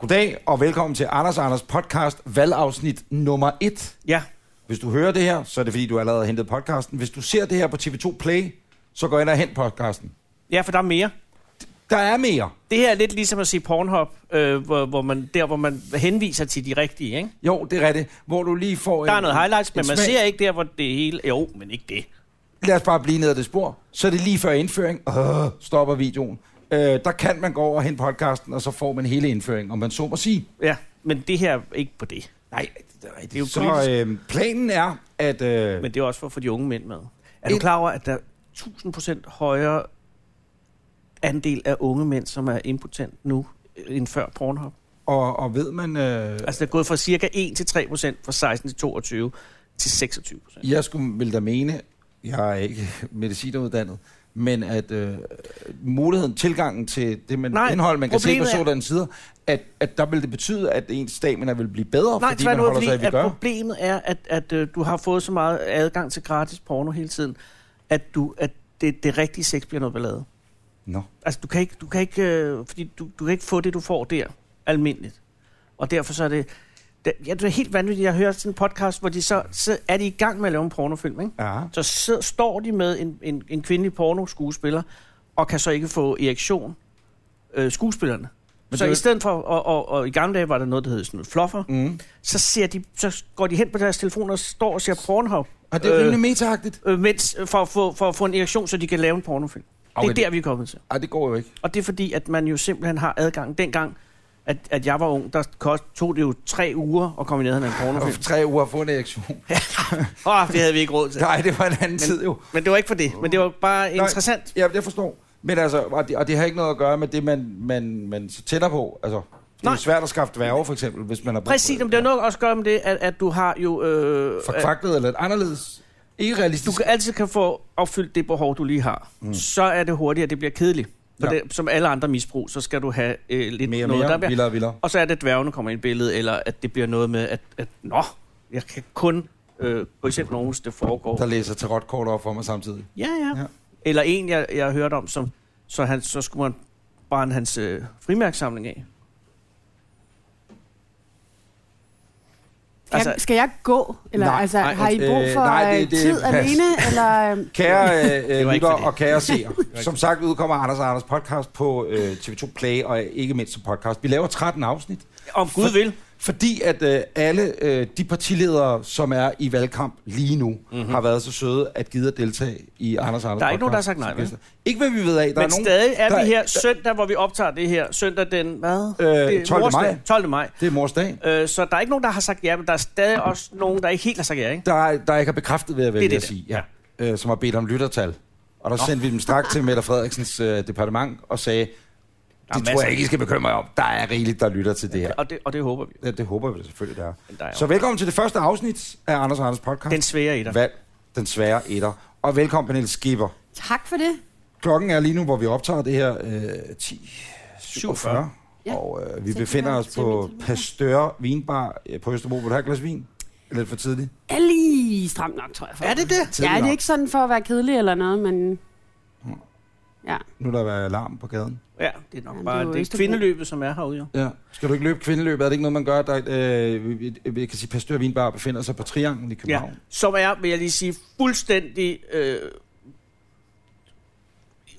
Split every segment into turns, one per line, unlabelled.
Goddag og velkommen til Anders Anders podcast, valgafsnit nummer 1.
Ja,
Hvis du hører det her, så er det fordi, du allerede har hentet podcasten. Hvis du ser det her på TV2 Play, så gå ind og hent podcasten.
ja, for der er mere.
Der er mere.
Det her er lidt ligesom at se Pornhub, øh, hvor, hvor man, der hvor man henviser til de rigtige, ikke?
Jo, det er rigtigt. Hvor du lige får...
Der er
en-
noget highlights, men
en
man
smag.
ser ikke der, hvor det hele... Jo, men ikke det.
Lad os bare blive ned ad det spor. Så er det lige før indføring. Øh, stopper videoen. Øh, der kan man gå over og hente podcasten, og så får man hele indføringen, om man så må sige.
Ja, men det her er ikke på det.
Nej, det er rigtigt.
Det er jo
så
politisk.
øh, planen er, at... Øh,
Men det er også for at få de unge mænd med. Er du
Et-
klar over, at der er 1000% højere andel af unge mænd, som er impotent nu, øh, end før Pornhub?
og, og ved man... Øh,
Altså, det er gået fra cirka 1 til 3 procent, fra 16 til 22 til 26 procent.
Jeg skulle vil da mene, jeg er ikke medicineruddannet, men at øh, muligheden, tilgangen til det man
Nej,
indhold, man kan se på
problemet er-
sådan sider, at, at der vil det betyde, at ens stamina vil blive bedre,
Nej,
fordi man holder sig, at vi
at
gør.
problemet er, at, at øh, du har fået så meget adgang til gratis porno hele tiden, at, du, at det, det rigtige sex bliver noget ballade.
Nå.
Altså, du kan ikke, du kan ikke, øh, fordi du, du kan ikke få det, du får der, almindeligt. Og derfor så er det... det ja, det er helt vanvittigt, jeg hører sådan en podcast, hvor de så, så er de i gang med at lave en pornofilm, ikke?
Ja.
Så sidder, står de med en, en, en kvindelig pornoskuespiller, og kan så ikke få erektion, øh, skuespillerne.
Men
Men så
det er jo-
i stedet for, og, og, og, i gamle dage var der noget, der hed sådan noget fluffer,
Mm.
så, ser de, så går de hen på deres telefon og står og ser Pornhub,
Og det er jo
Øh,
rimelig metaagtigt.
øh, mens, øh, for, at få- for at få en erektion, så de kan lave en pornofilm. Okay. Det
Okay.
er der, vi er kommet til.
Ej, det går jo ikke.
Og det er fordi, at man jo simpelthen har adgang. Dengang, at, at jeg var ung, der kost, tog det jo tre uger at komme ned af en
Og
pornofilm.
for tre uger at få en erektion.
Åh, oh, det havde vi ikke råd til.
Nej, det var en anden men, tid jo.
Men det var ikke for det. Men det var bare interessant.
Ja, jeg forstår. Men altså, og det, og det har ikke noget at gøre med det, man, man, man så tænder på. Altså, det er
Nej.
jo svært at skaffe dværge, for eksempel, hvis man har brug for
Præcis, men det er nok også gøre med det, at, at du har jo... Øh, at
Forkvaklet eller et anderledes. Ikke realistisk.
du kan altid kan få opfyldt det behov, du lige har. Mm. Så er det hurtigt, at det bliver kedeligt. For
Ja.
ja. det, som alle andre misbrug, så skal du have øh, lidt
mere og
noget,
mere,
der er
vildere og vildere.
Og så er det, at dværgene kommer ind i billedet, eller at det bliver noget med, at, at nå, jeg kan kun øh, gå i selv nogen, hvis det foregår.
Der læser tarotkort op for mig samtidig.
Ja, ja.
Ja.
ja. Eller en, jeg, jeg hørte om, som, så, han, så skulle man brænde hans øh, frimærksamling af. Altså,
Altså, jeg, skal jeg gå? Eller
Nej,
nej, altså,
nej,
har I brug
øh,
for
nej,
nej,
det-
det,
det-
det, tid
pas.
alene? Eller, øh,
Kære øh,
Det
øh,
var ikke
lytter
for det.
og kære seere, som sagt udkommer Anders og Anders podcast på øh, TV2 Play, og ikke mindst som podcast. Vi laver 13 afsnit,
om Gud vil.
fordi at øh, alle øh, de partiledere, som er i valgkamp lige nu, mm-hmm. har været så søde at gide at deltage i Anders og Anders
Mhm. Der er ikke nogen, der har sagt
podcast.
nej, vel?
Ikke hvad vi ved af. Der
Men
er nogen,
stadig er
der
vi her søndag, hvor vi optager det her. Søndag den, hvad?
Øh,
Det er
12. maj.
morsdag, 12. maj.
Det er mors dag.
Øh, så der er ikke nogen, der har sagt ja, men der er stadig også nogen, der ikke helt har sagt ja, ikke?
Der, er- der ikke har bekræftet ved at vælge
det,
at
det.
sige, ja. øh, som har bedt om lyttertal. Og der sendte vi dem straks til Mette Frederiksens øh, departement og sagde,
er
det tror
masser.
jeg ikke, I skal bekymre jer om. Der er rigeligt, der lytter til det her.
Og det, og det håber vi.
Ja, det håber vi da selvfølgelig, der er.
Men der er jo-
Så velkommen til det første afsnit af Anders og Anders podcast.
Den svære i dig.
Valg, den svære etter. Og velkommen, Pernille Skipper.
tak for det.
Klokken er lige nu, hvor vi optager det her, øh, 10. 47.
Ja.
Og øh, vi
Så
befinder
kan
os
jeg
på
simpelthen-
Pasteur Vinbar øh, på Østerbro. Vil du have et glas vin? Er Lidt for tidligt?
Er lige stramt nok, tror jeg. For.
Er det det?
Ja, det
nok.
er ikke sådan for at være kedelig eller noget, men... Ja.
Nu er der været alarm på gaden.
Ja, det er nok
Ja, det
bare
er jo
det, det
Østerbro.
kvindeløbet, som er herude. Jo.
Ja. Skal du ikke løbe kvindeløbet? Er det ikke noget, man gør? Der, er et, øh, vi- vi, vi, kan sige, Pasteur Vinbar befinder sig på Trianglen i
Ja,
København.
som er, vil jeg lige sige, fuldstændig øh,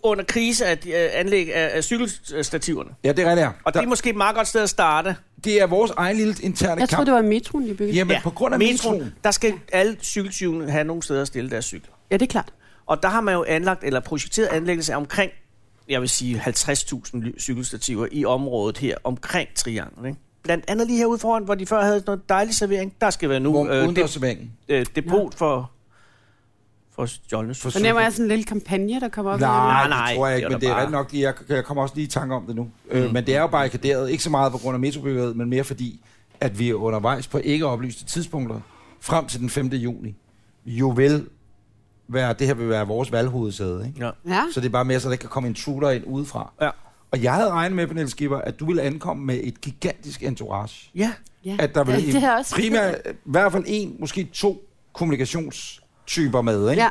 under krise af de, øh, anlæg af, af cykelstativerne.
Ja, det er rigtigt.
Og
Der,
det er måske et meget godt sted at starte.
det er vores egen lille interne
Jeg
kamp.
tror det var metroen, de byggede. Ja,
Jamen, ja. på grund af metroen.
Der skal alle cykeltyvene have nogle steder at stille deres cykler.
ja det er klart.
Og der har man jo anlagt, eller projekteret anlæggelse af omkring, jeg vil sige 50.000 ly- cykelstativer i området her, omkring Trianglen. Ikke? Blandt andet lige herude foran, hvor de før havde noget dejlig servering. Der skal være nu
Hvor øh,
øh, dep-
udendørsserveringen.
øh, depot for, for stjålne cykler.
Så nemmer jeg sådan en lille kampagne, der kommer op.
Nej,
nej,
det tror jeg
det
ikke,
er
men
da
det er
bare-
ret nok. lige- Jeg, jeg kommer også lige i tanke om det nu. Mm. Øh, men det er jo barrikaderet, ikke så meget på grund af metrobyggeriet, men mere fordi, at vi er undervejs på ikke oplyste tidspunkter frem til den 5. juni. Jo vel, være, det her vil være vores valghovedsæde, ikke?
Ja.
Ja,
Så det er bare mere, så der ikke kan komme en intruder ind udefra.
Ja.
Og jeg havde regnet med, Pernille Skipper, at du ville ankomme med et gigantisk entourage.
ja,
ja.
At der ville
ja, det er også
primært, i hvert fald en, måske to kommunikationstyper med, ikke?
Ja,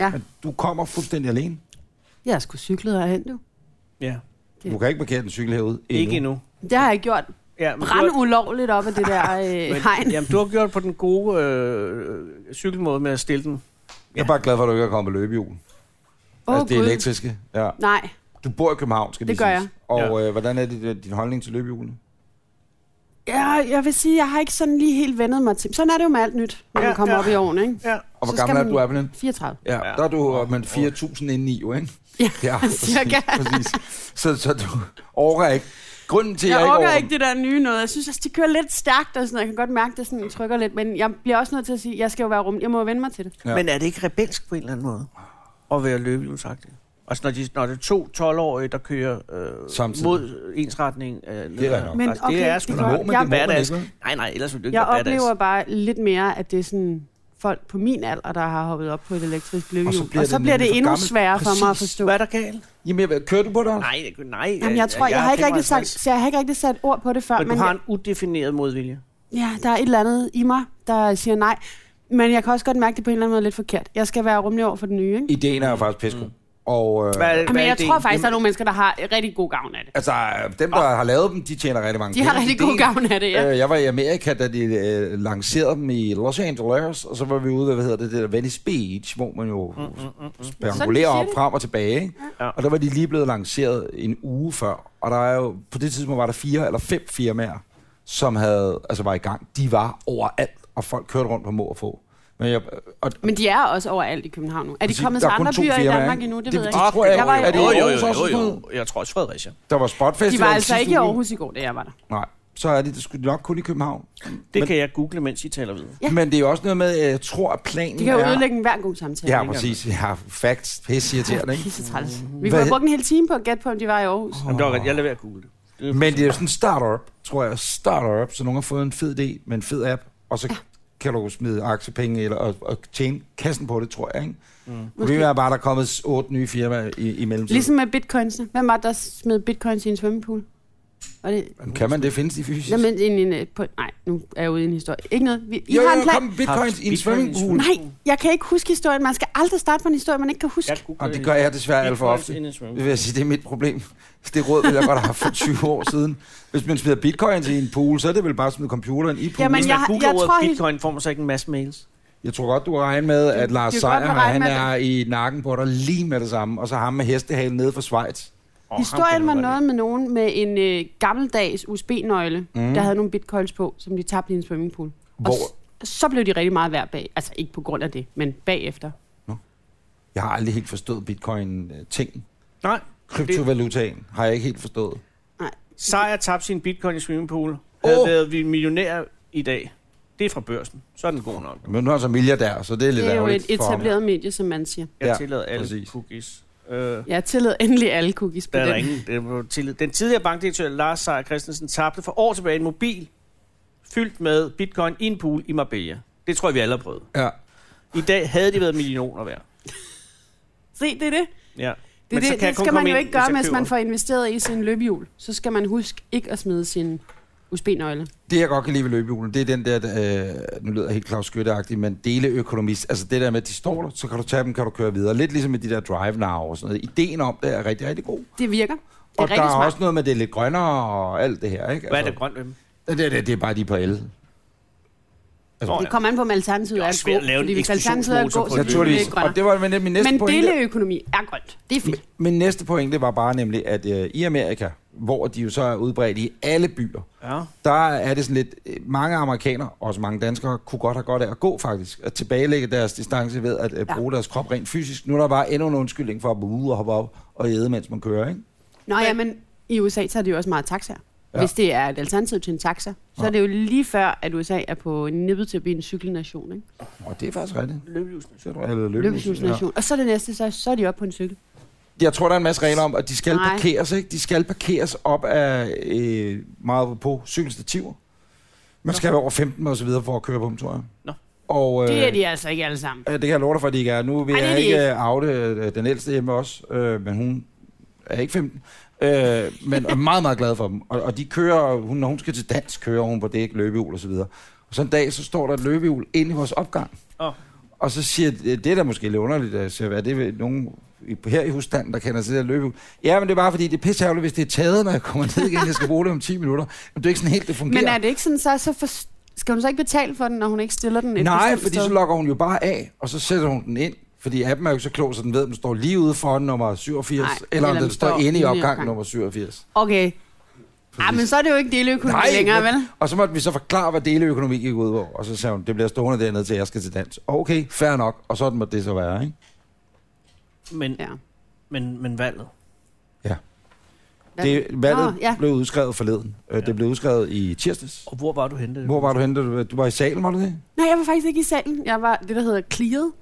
ja.
Men du kommer fuldstændig alene.
Jeg har sgu cyklet herhen, du.
ja.
Du kan ikke parkere den cykel herude.
Ikke endnu.
Det har jeg gjort.
Ja, men du har-
Brand ulovligt op af det der øh, hegn.
men, jamen, du har gjort det på den gode øh, cykelmåde med at stille den.
Jeg er bare glad for, at du ikke er kommet på løbehjul.
Åh,
altså, det er
Gud.
elektriske. Ja.
Nej,
Du bor i København, skal
Det
lige
gør
siges. Og øh, hvordan er det, din holdning til løbehjulene?
jeg, jeg vil sige, jeg har ikke sådan lige helt vendet mig til. Sådan er det jo med alt nyt, når
Ja,
ja, man kommer
ja.
ja. op i åren, ikke?
Ja.
Og hvor
Så skal
gammel er
man-
du er på den?
34.
Ja,
Ja.
der er du øh, men 4.000 inde i, jo, ikke?
Ja,
præcis,
cirka.
præcis. Så, så du overgår ikke. Grunden til, at
Jeg
jeg,
orker
overgår
ikke det der nye noget. Jeg synes også, det kører lidt stærkt, og sådan, og jeg kan godt mærke, det sådan trykker lidt. Men jeg bliver også nødt til at sige, jeg skal jo være rum. Jeg må jo vende mig til det.
Ja.
Ja. Men er det ikke rebelsk på en eller anden måde at være løbehjulsagtig? Altså når, de, når det er to 12-årige, der kører øh,
Samtidig.
mod ens retning. Øh, det
rigtigt nok.
Men
altså, det
okay,
er sgu
det
da
var-
Må man, det må man
badass.
ikke, vel?
Nej, nej, ellers ville du ikke
Jeg
være badass.
oplever bare lidt mere, at det er sådan folk på min alder, der har hoppet op på et elektrisk løbehjul. Og så bliver, og så det, bliver
nemlig
det
for
endnu
gammelt.
sværere for mig at
Præcis.
forstå.
Hvad er der galt?
Jamen, jeg ved- kører du på dig?
Nej, det, nej. øh,
Jamen, jeg tror, jeg, jeg, har ikke rigtig sagt, så jeg har ikke rigtig sat ord på det før.
Men, men du har
jeg,
en udefineret modvilje.
ja, der er et eller andet i mig, der siger nej. Men jeg kan også godt mærke det på en eller anden måde lidt forkert. Jeg skal være rummelig over for den nye, ikke?
Ideen er jo faktisk pisko. Mm. Og øh,
Hvad,
Jamen, jeg
det?
tror faktisk, der er nogle mennesker, der har rigtig god gavn af det.
altså, øh, dem, der har lavet dem, de tjener rigtig mange
De har
penge.
rigtig god
Ideen-
gavn af det, ja.
Øh, jeg var i Amerika, da de øh, lancerede dem i Los Angeles, og så var vi ude ved, hvad hedder det, det der Venice Beach, hvor man jo mm, mm, mm,
Sådan, de
spangulerer
siger
op
det.
frem og tilbage. Ikke?
Ja.
Og der var de lige blevet lanceret en uge før, og der er jo, på det tidspunkt var der fire eller fem firmaer, som havde, altså var i gang. De var overalt, og folk kørte rundt på må og få. Men jeg, og,
Men de er også overalt i København nu. Er de
Præcis.
kommet
Der
til
er kun
andre
to
byer i
firmaer,
Danmark
ikke?
endnu? Det
Det-
ved jeg
det
ikke.
tror jeg
Jeg var i
jo. Er det
Jo,
Aarhus.
jo,
Aarhus også
jo,
sådan
jo, jo. Jeg tror også Fredericia.
der var Spotfest.
De
her
var
den
altså
sidste
ikke i
uge.
Aarhus i går, da jeg var der.
Nej, så er det, det skulle nok kun i København.
Det
Men-
kan jeg google, mens I taler videre.
Ja.
Ja. Men det er jo også noget med, at jeg tror, at planen
De kan jo
er...
ødelægge en hver god samtale.
Ja, præcis. Ja, facts. Pisse irriterende, ikke? Mm.
Pisse træls. Vi
Hvad-
kunne have brugt en hel time på at gætte på, om de var i Aarhus.
Jamen, det var, godt. jeg lader være at google det. det.
Men det er jo sådan en startup, tror jeg. Startup, så nogen har fået en fed idé med en fed app, og så kan du smide aktiepenge eller, og, og tjene kassen på det, tror jeg. Ikke? Mm. Problemet er bare, at der er kommet otte nye firmaer i, i mellemtiden.
Ligesom med bitcoinsene. Hvem var det, der smed bitcoins i en svømmepool? Var det...
Jamen, Kan man det findes i fysisk?
Jamen, en, en, øh, på, nej, nu er jeg ude i en historie. Ikke noget. Vi, I
jo,
har en
jo,
plan.
kom bitcoins i en
Bitcoin
swimmingpool.
i en
Nej, jeg kan ikke huske historien. Man skal aldrig starte på en historie, man ikke kan huske.
Jeg googler
Og det gør jeg desværre alt for
Bitcoins
ofte.
in a swim.
Det vil jeg sige, det er mit problem. Det råd ville jeg godt have haft for 20 år siden. Hvis man smider bitcoins i en pool, så er det vel bare at smide computeren i poolen.
Jamen,
Hvis
jeg-
man googler
jeg
ordet
tror helt-
bitcoin, får man så ikke en masse mails.
Jeg tror godt, du har regnet med, at Lars
kan godt
Seier,
regne
han
med
er i nakken på dig lige med det samme, og så ham med hestehalen nede fra Schweiz.
Åh, ham kan
Historien
du
var
godt
noget med nogen med en øh, gammeldags USB-nøgle, mm. der havde nogle bitcoins på, som de tabte i en swimmingpool.
Hvor-
Og s- så blev de rigtig meget værd bag. Altså ikke på grund af det, men bagefter.
Jeg har aldrig helt forstået bitcoin-ting.
lide. Nej.
Kryptovalutaen har jeg ikke helt forstået.
Nej.
Sejr tabte sin bitcoin i swimmingpool.
Åh.
Havde været vi millionær i dag. Det er fra børsen. Så er den god nok.
Men nu er han så milliardær, så det er lidt
Det er jo
ærgerligt
et
for ham.
etableret medie, som man siger.
Jeg
Ja,
tillader alle
præcis.
cookies. Øh,
Jeg tillod endelig alle cookies på
Der er der
den.
ingen, der var tillid. Den tidligere bankdirektør Lars Seier Christensen tabte for år tilbage en mobil fyldt med bitcoin i en pool i Marbella. Det tror jeg, vi alle har prøvet.
Ja.
I dag havde det været millioner værd.
Se, det er det.
Ja.
Det,
så
det,
kan jeg
det
kun
skal man
komme
jo
ind,
ikke
hvis
gøre,
jeg
mens
køber
man
den.
får investeret i sin løbehjul. Så skal man huske ikke at smide sin USB-nøgle.
Det, jeg godt kan lide ved løbehjulen, det er den der, øh, nu lyder jeg helt Claus Skytte-agtig, men deleøkonomist. Altså det der med, at de står der, så kan du tage dem, kan du køre videre. Lidt ligesom med de der Drive Now og sådan noget. Ideen om det er rigtig, rigtig god.
Det virker. Det er
Og
rigtig
der er
smart.
også noget med, at det er lidt grønnere og alt det her, ikke?
Hvad er det grønt ved dem?
det? Det, det, det er bare de er på el. Altså,
Nå,
Det kommer an på, om alternativet
Det
er
er
at
også
gå.
svært at lave en
Fordi hvis alternativet er at
eksplosionsmotor
gå,
på
så
et
bliver det
Naturligvis.
ikke grønnere.
Og det var med min næste
Men
pointe.
deleøkonomi er grønt. Det er fint.
Min næste pointe var bare nemlig, at øh, i Amerika, hvor de jo så er udbredt i alle byer,
Ja.
der er det sådan lidt, øh, mange amerikanere, også mange danskere, kunne godt have godt af at gå faktisk, at tilbagelægge deres distance ved at øh,
Ja.
bruge deres krop rent fysisk. Nu er der bare endnu en undskyldning for at bruge og hoppe op og æde, mens man kører, ikke?
Nå ja, men i USA tager de jo også meget taxaer.
Ja.
Ja. Hvis det er et alternativ til en taxa, så er det jo lige før, at USA er på nippet til at blive en cykelnation. Ikke?
Og det er faktisk rigtigt.
Løbehjulsnation.
Så er du- eller
Løbehjulsnation. Og så det næste, så, så er de oppe på en cykel.
Jeg tror, der er en masse regler om, at de skal Nej.
Nej.
parkeres, ikke? De skal parkeres op af øh, meget på cykelstativer. Man skal være over 15 og så videre for at køre på dem, tror jeg.
Nå.
Og, øh,
Det er de altså ikke alle sammen.
Ja, det kan jeg love dig for, at de ikke er. Nu vil
Ej,
Ej,
det er
jeg
de
ikke
ikke.
øh, oute øh, den ældste hjemme også, øh, men hun er ikke 15. Øh, men er meget, meget glad for dem. Og, og de kører, hun, når hun skal til dans, kører hun på dæk, løbehjul og så videre. Og så en dag, så står der et løbehjul inde i vores opgang.
Åh.
Og så siger de, det er da måske lidt underligt, at siger, hvad er det ved nogen i- her i husstanden, der kender sig til at løbe. Ja, men det er bare fordi, det er pissehærligt, hvis det er taget, når jeg kommer ned igen, jeg skal bruge det om 10 minutter. Men det er ikke sådan helt, det fungerer.
Men er det ikke sådan, så, så for, skal hun så ikke betale for den, når hun ikke stiller den? et
Nej,
bestemt
fordi
sted?
så logger hun jo bare af, og så sætter hun den ind. Fordi appen er jo ikke så klog, så den ved, om den står lige ude foran nummer 87,
Nej,
Nej, eller om den står inde i
i
opgang
opgang.
nummer 87.
Okay. Ej, men så er det jo ikke deleøkonomi
Nej,
længere,
men-
vel?
Og så måtte vi så forklare, hvad deleøkonomi gik ud over. Og så sagde hun, det bliver stående dernede til, jeg skal til dans. Okay, fair nok. Og sådan må det så være, ikke?
Men, ja.
Ja.
men, men valget.
Hvad?
Det, valget
Nå,
ja.
ja.
blev udskrevet forleden. Ja. Det blev udskrevet i tirsdags.
Og hvor var du henne?
Hvor var du henne? da Du du var i salen, var du det?
Nej, jeg var faktisk ikke i salen. Jeg var det, der hedder clearet.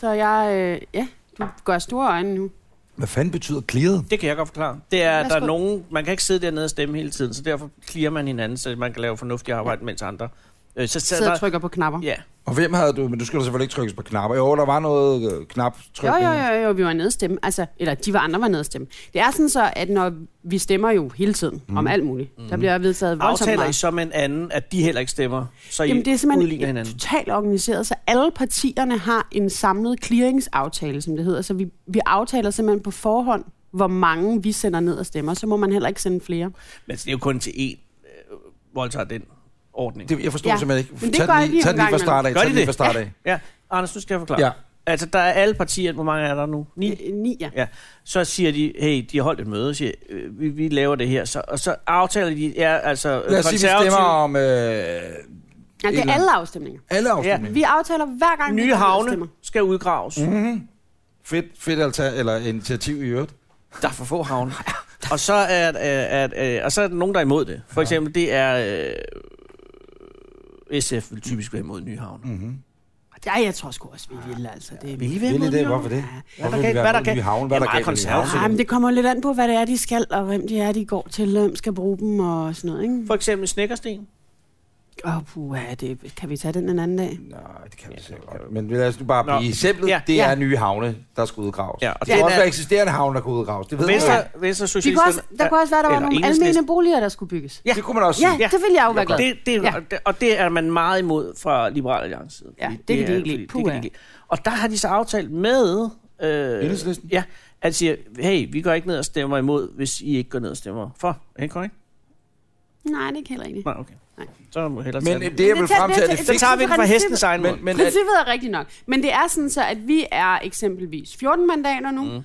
Så jeg, øh, ja, du gør store øjne nu.
Hvad fanden betyder clearet?
Det kan jeg godt forklare. Det er, at der er
Værsgo.
nogen, man kan ikke sidde dernede og stemme hele tiden, så derfor clear man hinanden, så man kan lave fornuftigt arbejde, mens andre... Øh, så
Sidder
sidder
og trykker på knapper.
Ja,
Og hvem havde du? Men du skulle da selvfølgelig ikke trykkes på knapper. Jo, der var noget øh, knaptryk.
Jo, jo, jo, jo, vi var nede at stemme. Altså, eller de var andre var nede at stemme. Det er sådan så, at når vi stemmer jo hele tiden mm. om alt muligt, mm. der bliver vedtaget voldsomt
Mhm. aftaler I
meget.
så med en anden, at de heller ikke stemmer, så
Jamen,
I
det er
udligner
simpelthen
hinanden?
totalt organiseret, så alle partierne har en samlet clearingsaftale, som det hedder. Så vi, vi aftaler simpelthen på forhånd, hvor mange vi sender ned og stemmer. Så må man heller ikke sende flere.
Men altså, det er jo kun til én øh, voldtager den ordning.
Det, jeg forstod ja.
Ja.
simpelthen ikke.
Men det
Tag
gør
den
jeg
lige,
lige
tag
en
den lige fra
gang
start af.
imellem. Gør
Tag den
de
lige fra
det?
start af.
Ja, Anders, nu skal jeg forklare.
Ja.
Ja. Altså, der er alle partier, hvor mange er der nu? Ni?
Øh, Ni, ja.
Ja, så siger de, hey, de har holdt et møde, og siger, øh, vi, vi laver det her, så, og så aftaler de, ja, altså øh,
Lad os sige, vi
konservative,
stemmer om øh,
ja det
Eller-
er alle afstemninger.
øh, alle afstemninger. Ja.
Vi aftaler hver gang,
nye
vi går ned og
havne
stemmer.
skal udgraves. Mm.
Fedt, fedt alta, eller initiativ i øvrigt.
Der er for få havne. og, så er, er, er, er, øh, og så er der nogen, der er imod det. For eksempel, det er... Øh, SF vil typisk være imod nye havne. Mm.
Ja, jeg tror sgu også, vi vil, altså. Det,
Vil I være
Vil
imod
I det?
Nye Havn?
Hvorfor det?
Hvad
Hvorfor
der kan,
vil vi
hvad
være
der
imod
kan.
Nye Havn? Hvad
Jeg
der
er meget
galt med Nye Havn?
konservativ.
Ja, men det kommer lidt an på, hvad det er, de skal, og hvem det er, de går til, og hvem skal bruge dem, og sådan noget, ikke?
For eksempel Snækkersten.
Åh, oh, puha, det, kan vi tage den en anden dag?
Nej, det kan vi sikkert godt. Men lad os nu bare blive
Nå.
i eksemplet.
Ja.
Det
Ja.
er nye havne, der skal udgraves.
Ja,
Ja,
og
og det
den
er også
er-
være eksisterende havne, der kan udgraves. Det ved man
Venstre,
jo.
Venstre
De kunne
Socialisterne.
også, der kunne også være, der var
eller
nogle
Enhedslisten.
almene boliger, der skulle bygges.
Det kunne man også
Ja,
sige.
Ja.
det vil jeg jo være glad.
Det, det,
Ja.
ja. Og det er man meget imod fra Liberal Alliance. side.
Ja,
Fordi
det kan de
er-
ikke lide.
fordi Det kan
Puha.
de ikke lide. Og der har de så aftalt med... Øh,
Enhedslisten?
Ja, at de siger, hey, vi går ikke ned og stemmer imod, hvis I ikke går ned og stemmer for. Er det korrekt?
Nej, det er ikke heller ikke.
Nej, okay.
Nej.
Så må vi hellere tage
Men
den.
øh, det, jeg vil
tager-
frem til, er det
tager-
Så
fik...
tager vi den fra hestens egen mund.
Men, men at,
Princippet er rigtigt nok. Men det er sådan så, at vi er eksempelvis 14 mandater nu.
Mm,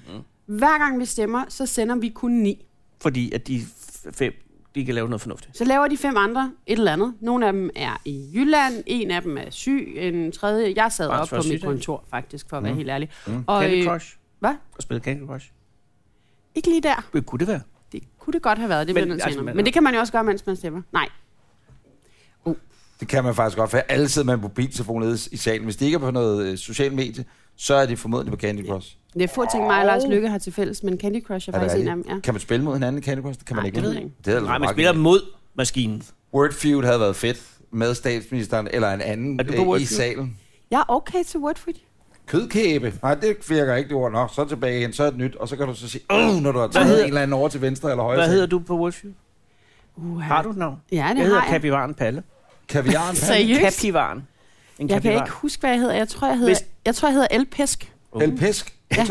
Hver gang vi stemmer, så sender vi kun 9.
Fordi at de f- fem, de kan lave noget fornuftigt.
Så laver de fem andre et eller andet. Nogle af dem er i Jylland, en af dem er syg, en tredje... Jeg sad
Bare
op
for
på
at sige
mit
det. Mm.
kontor, faktisk, for at være helt ærlig.
Og,
Og,
Candy
øh,
Crush.
Hvad?
Og spille Candy Crush.
Ikke lige der.
Hvad kunne det være?
Det kunne det godt have været, det
Men,
men, altså,
altså,
senere.
man-
Men det kan man jo også gøre, mens man stemmer. Nej.
det kan man faktisk godt, for alle sidder med en mobiltelefon nede i salen. Hvis det ikke er på noget øh, socialt medie, så er det formodentlig på Candy Crush.
Det er få ting, mig og Lars Lykke har til fælles, men Candy Crush er,
Er det
faktisk en af dem.
rigtigt?
Ja.
Kan man spille mod hinanden i Candy Crush? Det kan man
Nej,
ikke.
det ved
vel?
jeg ikke.
Det er
Nej, man spiller mod maskinen.
Wordfeud havde været fedt med statsministeren eller en anden
Er du på
øh, i
Wordfeud?
salen.
Jeg er okay til Wordfeed.
Kødkæbe. Nej, det virker ikke det ord. Nå, så tilbage igen, så er det nyt. Og så kan du så sige, Åh, når du har taget
hedder-
en eller anden over til venstre eller højre.
Hvad
side."
hedder du på Wolfsview?
Uh,
Har du et navn?
Ja, det
jeg hedder
har jeg.
Kapivaren Palle.
Kaviaren.
Seriøst?
Kapivaren. En
Jeg kan
kapivar.
ikke huske, hvad jeg hedder. Jeg tror, jeg hedder,
Hvis-
jeg, tror, jeg hedder Elpesk.
Elpisk.
Ja.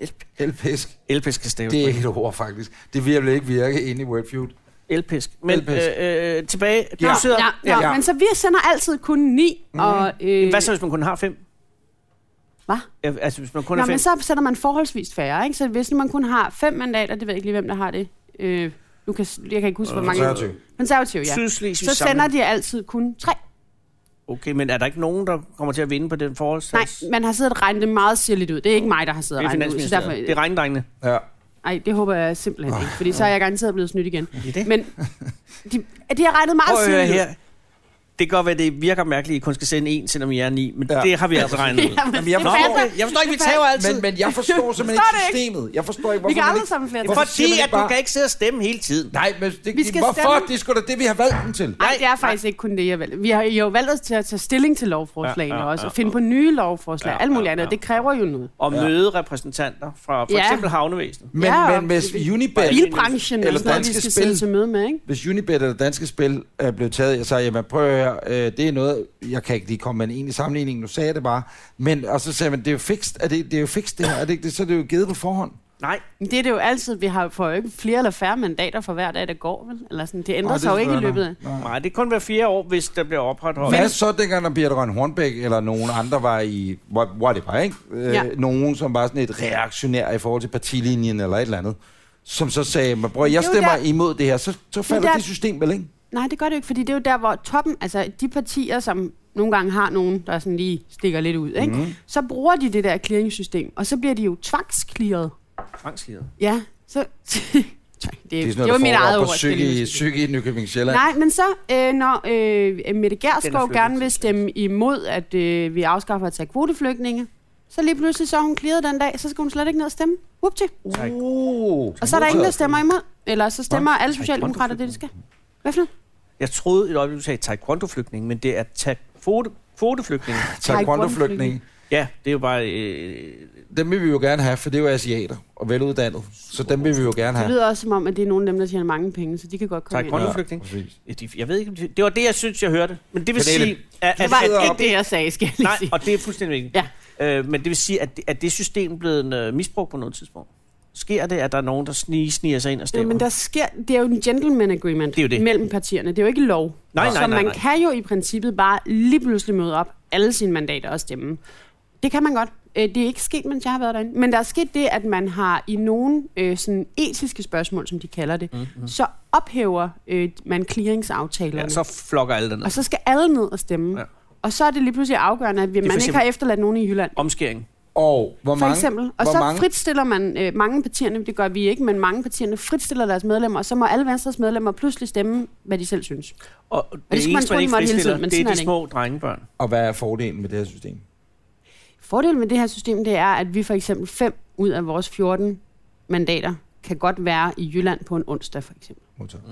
Ja. Elpisk.
Elpisk kan staves.
Det er ikke et ord, faktisk. Det vil ikke virke inde i Wordfeud.
Elpisk. Men
Elpisk.
Øh, øh, tilbage. Du
Ja.
sidder... Mhm.
Ja, ja,
ja.
ja. Men så vi sender altid kun ni. Mm. Og, øh,
Hvad så, hvis man kun har fem?
Hvad?
Øh, Altså, hvis man kun
Nå,
har fem.
men så sender man forholdsvis færre. Ikke? Så hvis nu man kun har fem mandater, det ved jeg ikke lige, hvem der har det. Øh, nu kan, jeg kan ikke huske, hvor mange...
Konservativ.
Konservativ, ja.
Sydslesvig
Så sender
Samling.
de altid kun tre.
Okay, men er der ikke nogen, der kommer til at vinde på den øh,
Nej,
forholdsdags?
man har siddet og regnet det meget sirligt ud. Det er ikke mig, der har siddet
Det
og
er
regnet det ud. Så
finansministeriet. Det
derfor,
er regndrengene.
Ja.
ej, det håber jeg simpelthen ikke, fordi så er jeg garanteret blevet snydt igen.
Det er det.
Men de, de har regnet
Prøv
meget
at høre
sirligt ud.
her. Det kan godt være, det virker mærkeligt, at I kun skal sende en, selvom I er ni, men
Ja.
ja. det har vi altså regnet ud.
Jamen,
Jamen, jeg
det
Nå,
forstår
passer.
okay. jeg forstår ikke, vi
Det
tager
passer.
altid.
Men, men jeg forstår simpelthen
Forstår
ikke
det
systemet. Jeg forstår ikke,
Vi
hvorfor
kan
man
alle
ikke...
sammen flere.
Hvorfor siger
Fordi
man
at
ikke
du
bare-
kan ikke sidde og stemme hele tiden.
Nej, men det,
Vi skal
hvorfor?
stemme.
Det er sgu da det, vi har valgt den til.
Nej, det er faktisk ikke kun det, jeg valgte. Vi har jo valgt os til at tage stilling til lovforslagene
Ja,
ja,
ja,
ja,
ja,
også, og
ja.
finde på nye lovforslag,
Ja,
ja, alt muligt
ja,
andet.
ja.
Det kræver jo noget.
Og møde repræsentanter fra for
Ja.
eksempel havnevæsenet.
Men,
Ja,
men hvis Unibet...
Bilbranchen
Eller
eller sådan noget, vi
danske
skal
spil.
sidde til møde med, ikke?
Hvis Unibet eller Danske Spil er blevet taget, jeg sagde, jamen prøv at høre, øh, det er noget, jeg kan ikke lige komme med en egentlig sammenligning, nu sagde jeg det bare, men, og så sagde man, det er jo fikst, er det, det er jo fikst det her, er det ikke det, så er det jo givet på forhånd.
Nej,
Det er det jo altid. Vi har får jo ikke flere eller færre mandater for hver dag, der går. Vel? Eller sådan. Det ændrer
Nej,
sig jo ikke i
spørger jeg
løbet af.
nok. Nej.
nej, det er kun hver fjerde år, hvis der bliver opretholdt.
Hvad så dengang, når Birte Røn Hornbæk eller nogen andre var i what- whatever, ikke? Øh,
Ja.
Nogen, som var sådan et reaktionær i forhold til partilinjen eller et eller andet, som så sagde, "Men bror, jeg
det er jo
stemmer
der-
imod det her, så, så falder
der-
det system vel, ikke?
Nej, det gør det jo ikke, fordi det er jo der, hvor toppen, altså de partier, som nogle gange har nogen, der sådan lige stikker lidt ud, ikke?
Mhm.
Mm. så bruger de det der clearingssystem, og så bliver de jo tvangskliret.
Tvangsleder.
Ja, så... Tvang, det,
Det er sådan
det, det var
noget,
mit
der
eget
foregår
ord.
på
skal jeg
psyke,
lige huske.
psyke i Nykøbing Sjælland.
Nej, men så, øh, når øh, Mette Gerskov
flyttet
gerne
til
vil stemme imod, at øh, vi afskaffer at tage kvoteflygtninge, så lige pludselig så er hun clearet den dag, så skal hun slet ikke ned og stemme. Whoopty.
Uh.
Og så er der ingen, der stemmer imod. Eller så stemmer alle socialdemokrater det, de skal. Hvad for noget?
Jeg troede et øjeblik, du sagde taekwondo-flygtning, men det er ta- kvote- kvoteflygtning.
Taekwondo-flygtninge.
Ja, det er jo bare... Øh,
Dem vil vi jo gerne have, for det er jo asiater og veluddannet. Så dem vil vi jo gerne
Det
have.
lyder også som om, at det er nogle af dem, der tjener mange penge, så de kan godt komme ind.
taekwondo flygtning
præcis.
Ja, øh, de- jeg ved ikke, om de- det var det, jeg synes, jeg hørte. Men det vil
Pernille,
sige... At,
Det
at,
var
at,
sidder
ikke
op.
det, jeg sagde, skal jeg lige
nej,
sige.
og det er fuldstændig vigtigt.
Ja.
Øh, men det vil sige, at, at det system er blevet øh, misbrugt på noget tidspunkt. Sker det, at der er nogen, der sniger, sniger sig ind og
Ja,
stemmer?
men der sker, det er jo en gentleman agreement
Det er jo det.
mellem partierne. Det er jo ikke lov.
Nej, nej,
så
nej,
man
nej.
kan jo i princippet bare lige pludselig møde op alle sine mandater og stemme. Det kan man godt. Øh, Det er ikke sket, mens jeg har været derinde. Men der er sket det, at man har i nogle øh, sådan etiske spørgsmål, som de kalder det, mm-hmm. så ophæver øh, man clearingsaftalerne.
Mhm. ja,
Ja,
så flokker alle den
Og så skal alle ned og stemme.
Ja.
Ja. Og så er det lige pludselig afgørende, at vi-
for
man ikke
eksempel-
har efterladt nogen i Jylland.
Omskæring.
Altså,
Og hvor
For
mange...
eksempel. Og
hvor
så
mange,
fritstiller man øh, mange partierne, det gør vi ikke, men mange partierne fritstiller deres medlemmer, og så må alle Venstres medlemmer pludselig stemme, hvad de selv synes.
Og det,
man
eneste,
tro, de
ikke
måtte hele tiden,
fristiller,
men
det
sådan
er
er
de
det
små drengebørn.
Og hvad er fordelen med det her system?
Fordelen med det her system, det er, at vi for eksempel 5 ud af vores 14 mandater kan godt være i Jylland på en onsdag, for eksempel.
Modtaget.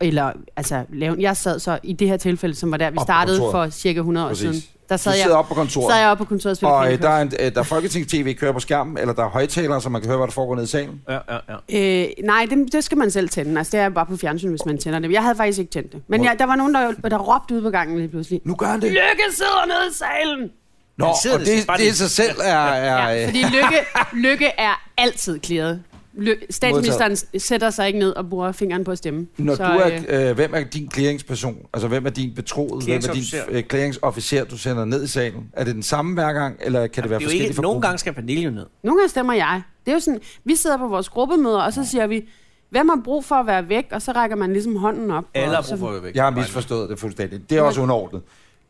Eller, altså, lave, jeg sad så i det her tilfælde, som var der, vi
Op på
startede
kontoret.
for cirka 100 år
Præcis.
siden. Der sad
Du
jeg,
sidder oppe på kontoret.
sad jeg oppe på kontoret og spillede
Og øh,
Candy
der er, en, øh, der er Folketing-TV kører på skærmen, eller der er højtalere, så man kan høre, hvad der foregår nede i salen.
Ja, ja, ja.
Øh, nej, det, det skal man selv tænde. Altså, det er bare på fjernsyn, hvis man tænder det. Jeg havde faktisk ikke tændt det. Men
Hvor-
jeg, der var nogen, der, der råbte ude på gangen lige pludselig.
Nu gør han det.
Lykke sidder nede i salen!
Nå,
Han sidder
og
der,
det,
så bare
det i
lige-
sig selv er... er
Ja,
øh,
fordi lykke, lykke er altid klæret. Ly- statsministeren s- sætter sig ikke ned og bruger fingeren på at stemme.
Når
så,
du er, øh, hvem er din clearingsperson? Altså, hvem er din betroet? Hvem er din
Clearingsofficer.
øh, clearingsofficer, du sender ned i salen? Er det den samme hver gang, eller kan det være
Det er jo
forskelligt
ikke,
for
nogle
gruppen?
gange skal Pernille jo ned.
Nogle gange stemmer jeg. Det er jo sådan, vi sidder på vores gruppemøder, og så siger vi, hvem har brug for at være væk? Og så rækker man ligesom hånden op.
Alle
og
har
så,
brug for at være væk.
Jeg har misforstået det fuldstændig. Det er også underordnet.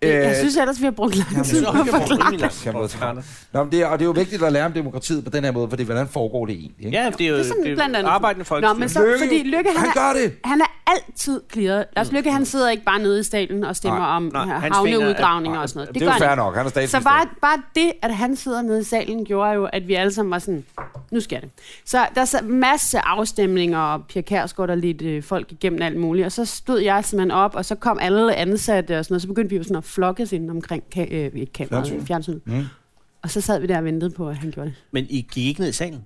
Jeg
Øh,
synes ellers, vi har brugt lang
Jeg
tid
synes
på
også,
at
vi har brugt
forklare
rimelig
det.
lang tid
Jeg
på at
ved
forklare det.
Nå, men det er, og det er jo vigtigt at lære om demokratiet på den her måde, fordi hvordan foregår det egentlig? Ikke?
Ja, det er jo
Det er sådan
det er
blandt andet.
arbejdende folkestyre.
Nå, men så- fordi Lykke, han
han
er-
gør det!
Han er altid clearet. Lars Lykke, han sidder ikke bare nede i stallen og stemmer
Nej,
nej, om
nej,
nej,
hans fingre er-
havneudgravninger og sådan noget.
Det, det er
gør
jo fair
han.
nok, han er
Så
statsminister.
bare, bare det, at han sidder nede i salen, gjorde jo, at vi alle sammen var sådan, nu sker det. Så der er masse afstemninger, og Pia Kærsgaard der lidt øh, folk igennem alt muligt, og så stod jeg simpelthen op, og så kom alle ansatte og sådan noget, så begyndte vi jo sådan at flokkes ind omkring ka- øh, ikke
Fjernsynet.
kameraet, fjernsynet. Mm. Og så sad vi der og ventede på, at han gjorde det.
Men I gik ikke ned i salen?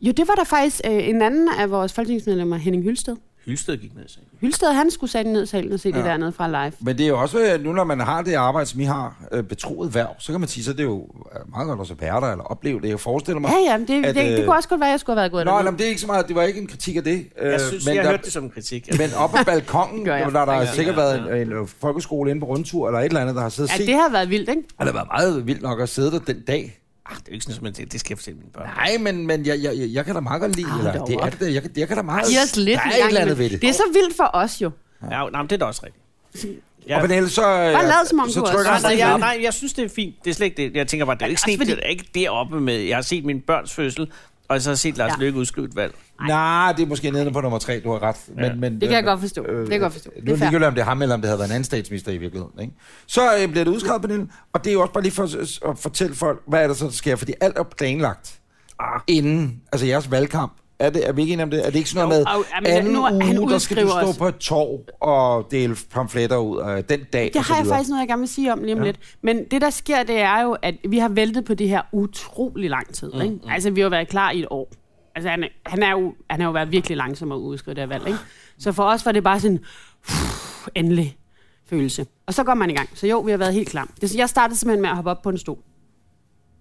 Jo, det var der faktisk øh, en anden af vores folketingsmedlemmer, Henning Hylsted.
Hylsted gik ned i salen.
Hylsted, han skulle sætte ned i salen og se ja. det dernede fra live.
Men det er jo også, øh, nu når man har det arbejde, som I har, øh, betroet værv, så kan man sige, så det er jo øh, meget godt også at være der, eller opleve det. Jeg forestiller mig...
Ja, ja, men det,
at,
at, det,
øh,
det, kunne også godt være, at jeg skulle have været gået
Nå,
derned.
jamen, det er ikke så meget, det var ikke en kritik af det. Øh,
Jeg synes,
men
jeg
der,
hørte det som en kritik. Altså,
Men op ad balkongen,
Gør
der
jeg.
har der
Ja,
sikkert
ja,
været en, en øh, folkeskole inde på rundtur, eller et eller andet, der har siddet og
Ja,
set.
det har været vildt, ikke?
Og det har været meget vildt nok at sidde der den dag.
Ach, ah, det er jo ikke sådan, at man tænker, det skal jeg fortælle mine børn.
Nej, men, men jeg, jeg, jeg, jeg kan da meget godt lide,
Hold
eller,
dog
det er
op.
det, da. jeg, kan- jeg kan da meget...
Giv os lidt
der
en
er et
gang
eller andet ved
imellem.
det.
Det er så vildt for os jo.
Ja, jo, nej, men det er da også rigtigt.
Ja. Og Pernille, så,
Bare lad som om
så
du også-
trykker
Nej,
han
nej,
dig
jeg,
ned.
nej, jeg synes, det er fint. Det er slet ikke det. Jeg tænker bare, det er jo ikke,
Også
sent,
fordi-
det er ikke deroppe med. Jeg har set min børns fødsel, og så har jeg set Lars
Ja.
Løkke udskrive et valg.
Nej, det er måske nede på nummer tre, du har ret. Men, ja. men, Øh,
Det kan jeg godt forstå. Det kan jeg godt forstå.
Nu er
Det er
det
fair.
ligegyldigt, om det er ham, eller om det havde været en anden statsminister i virkeligheden. Ikke? Så øh, bliver det udskrevet, Pernille. Og det er jo også bare lige for at- at fortælle folk, hvad er der så, der sker. Fordi alt er planlagt
Ah.
inden, altså jeres valgkamp. Er, det, er vi ikke enige om det? Er det ikke sådan noget
Jo,
med
og- jamen,
anden
nu er- han
uge, der skal du
udskriver
stå
os.
på et torv og dele pamfletter ud øh, den dag?
Det
og så
har jeg
videre.
faktisk noget, jeg gerne vil sige om lige om ja. lidt. Men det, der sker, det er jo, at vi har væltet på det her utrolig lang tid. Mm, ikke? Altså, vi har jo været klar i et år. Altså, han, han, er jo, han har jo været virkelig langsom at udskrive det her valg. Ikke? Så for os var det bare sådan... endelig følelse. Og så går man i gang. Så jo, vi har været helt klam. Det- Jeg startede simpelthen med at hoppe op på en stol.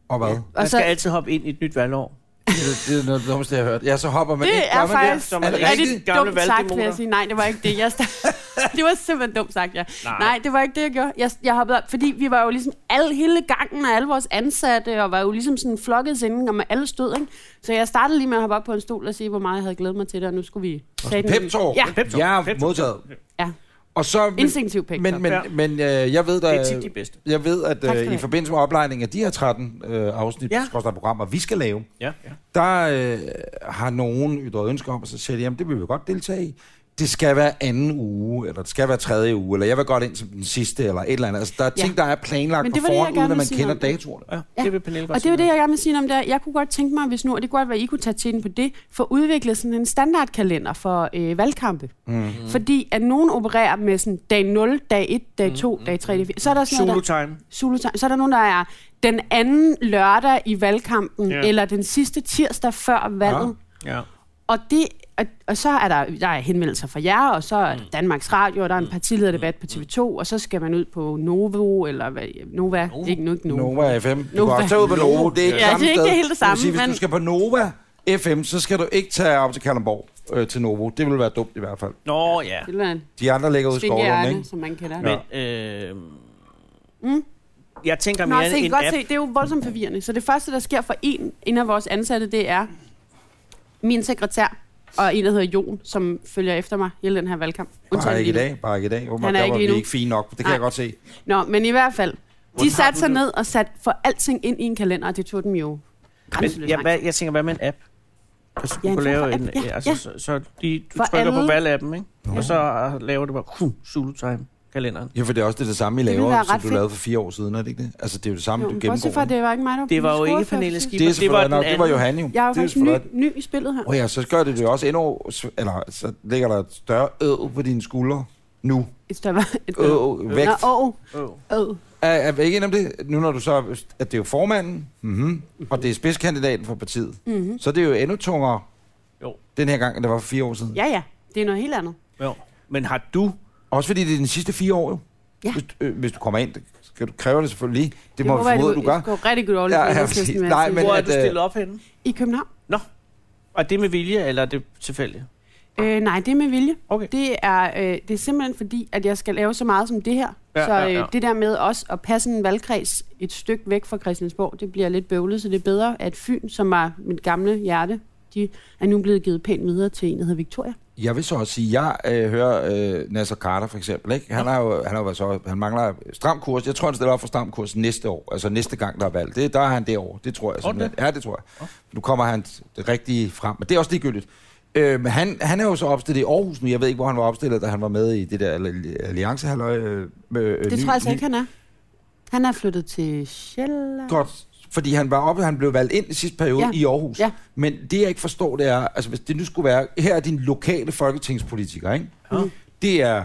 Og hvad?
Og
Man
så,
skal altid hoppe ind i et nyt valgår.
Det, er- det er noget af det dummeste, jeg har hørt. Ja, så hopper man ind.
det
Gør
er
man
faktisk
Som en
Er det
rigtig
rigtigt?
gammel
dumt sagt, vil
valgdemoter.
jeg sige. Nej, det var ikke det. Jeg sta- det var simpelthen dumt sagt, ja.
Nej.
Nej. Nej, det var ikke det, jeg gjorde. Jeg, jeg hoppede op, fordi vi var jo ligesom alle, hele gangen af alle vores ansatte, og var jo ligesom sådan flokket inden, og med alle stød, ikke? Så jeg startede lige med at hoppe op på en stol og sige, hvor meget jeg havde glædet mig til det, og nu skulle vi...
det? Pep talk.
Ja,
Pep talk.
Jeg har
Pep talk.
modtaget.
ja.
Og så, men,
Instinktiv pep
men, men,
Ja.
men øh, jeg ved, der,
Det er tit de bedste.
jeg ved, at
Tak skal
øh,
du
i
have.
forbindelse med oplejningen af de her 13 øh, afsnit,
Ja.
ja. programmer, vi skal lave,
Ja, ja.
der øh, har nogen ytret ønske om, og så siger de, jamen det vil vi godt deltage i. Det skal være anden uge, eller det skal være tredje uge, eller jeg vil godt ind som den sidste, eller et eller andet. Altså, der er
Ja.
ting, der er planlagt
Men
på
det var det, jeg
forhånd,
gerne
uden at
ville
man
sige
kender
noget om.
datoerne.
ja.
Ja.
Det vil Pernille godt
Og det er jo det,
sige.
jeg gerne vil sige om der. Jeg kunne godt tænke mig, hvis nu, og det kunne godt være, I kunne tage tiden på det, for udvikle sådan en standardkalender for øh, valgkampe. Mm. Fordi at nogen opererer med sådan dag 0, dag 1, dag 2, dag 3, dag 4. Så er der sådan noget,
Zulu
der,
time.
Zulu Time. Så er der nogen, der er den anden lørdag i valgkampen,
Ja.
yeah. eller den sidste tirsdag før valget. Ja.
Ja.
Og, det, og, og så er der, der er henvendelser fra jer, og så er der Danmarks Radio, og der er en partilederdebat på TV2, og så skal man ud på Novo, eller hvad, Nova, Nova. ikke nu ikke Nova.
Nova FM. Du
Nova.
kan også tage ud på Nova. Det er ikke
Ja,
samme
det er ikke
sted.
helt det samme,
vil sige, hvis
men-
du skal på Nova FM, så skal du ikke tage op til Kalundborg øh, til Novo. Det vil være dumt i hvert fald.
Nå, ja.
Det er en
De andre ligger ude i skovlunden,
Skinkehjerne,
ikke?
som man kalder det.
Men, øh, jeg tænker
Mm. Nå,
mere
se, I
en
kan godt
app.
se, det er jo voldsomt forvirrende. Så det første, der sker for en, en af vores ansatte, det er min sekretær og en, der hedder Jon, som følger efter mig hele den her valgkamp.
Bare
Undtagen
ikke i
lige nu.
dag. Bare ikke i dag. Oh,
Han er
der
ikke
var
lige
vi
nu.
ikke fint nok. Det kan
Nej.
jeg godt se.
Nå, men i hvert fald,
Hvordan
de
har
satte
du
sig
det?
ned og satte for alting ind i en kalender, og det tog dem jo
Men,
grænseløst
ja,
langt.
hvad, jeg tænker, hvad med en app? Altså, du
Ja,
ja,
en
kunne
form
lave
for
en,
app. Ja,
altså,
ja.
så, så de, du
For
trykker på
alle.
valgappen, ikke? Og så øh, laver det bare, huh, Zulu Time, kalenderen.
Ja, for det er også det, det samme, I
Det ville
laver,
være
som
ret
du
fedt.
lavede for fire år siden, er det ikke det? Altså, det er jo det samme,
Jo,
du
men
gennemgår.
bortset fra, at det var ikke mig, der
Det var jo ikke Pernille
Pernille
Det
Skipper,
er
det, det var
selvfølgelig nok.
den
Det var Johan
anden.
jo.
Jeg er jo
Det er
faktisk ny,
selvfølgelig
ny i spillet her.
Og ja, så gør det det jo også endnu, eller så ligger der et større øv på dine skuldre nu.
Et større... Et større.
Øv, vægt.
Nå, åh,
Åh.
åh.
Er, er vi ikke enig om det? Nu når du så, at det er jo formanden, mm-hmm. og det er spidskandidaten for partiet,
Mhm.
mm-hmm. så er det jo endnu tungere
Jo.
den her gang, end det var for fire år siden.
Ja, ja. Det er noget helt andet.
Jo. Men har du...
Også fordi det er de sidste fire år jo.
Ja.
Hvis, øh, hvis du kommer ind, det skal du kræver det selvfølgelig lige. Det, det må vi
håber jeg,
formode, du gør.
Det går rigtig godt
Ja, ja,
overligt.
præcis. Nej, men-
Hvor er
at,
du
øh,
stillet op henne?
I København?
Nå. Og det er med vilje, eller er det tilfældigt?
Øh, nej, det er med vilje.
Okay.
Det er, øh, det er simpelthen fordi, at jeg skal lave så meget som det her.
Ja,
Ja, så
ja,
øh,
ja.
det der med også at passe en valgkreds et stykke væk fra Christiansborg, det bliver lidt bøvlet, så det er bedre, at Fyn, som var mit gamle hjerte, de er nu blevet givet pænt videre til en, der hedder Victoria.
Jeg vil så også sige, jeg øh, hører øh, Nasser Carter for eksempel, ikke? Han, har jo, han, har jo været så, han mangler stram kurs. Jeg tror, han stiller op for stram kurs næste år, altså næste gang, der er valg. Det, der er han derovre, det tror jeg
Tror du
simpelthen. Ja, det tror jeg. Nu kommer han rigtig frem, men det er også ligegyldigt. Øh, men han, han er jo så opstillet i Aarhus nu. Jeg ved ikke, hvor han var opstillet, da han var med i det der alli- alliance. Halløj, øh, med, øh,
Det
ny-
tror jeg altså
ny-
ikke, han er. Han er flyttet til Sjælland.
Godt, fordi han var oppe, han blev valgt ind i sidste periode ja.
Ja.
i Aarhus. Ja.
Ja.
Men det jeg ikke forstår, det er, altså hvis det nu skulle være, her er din lokale folketingspolitiker, ikke?
Ja.
Det er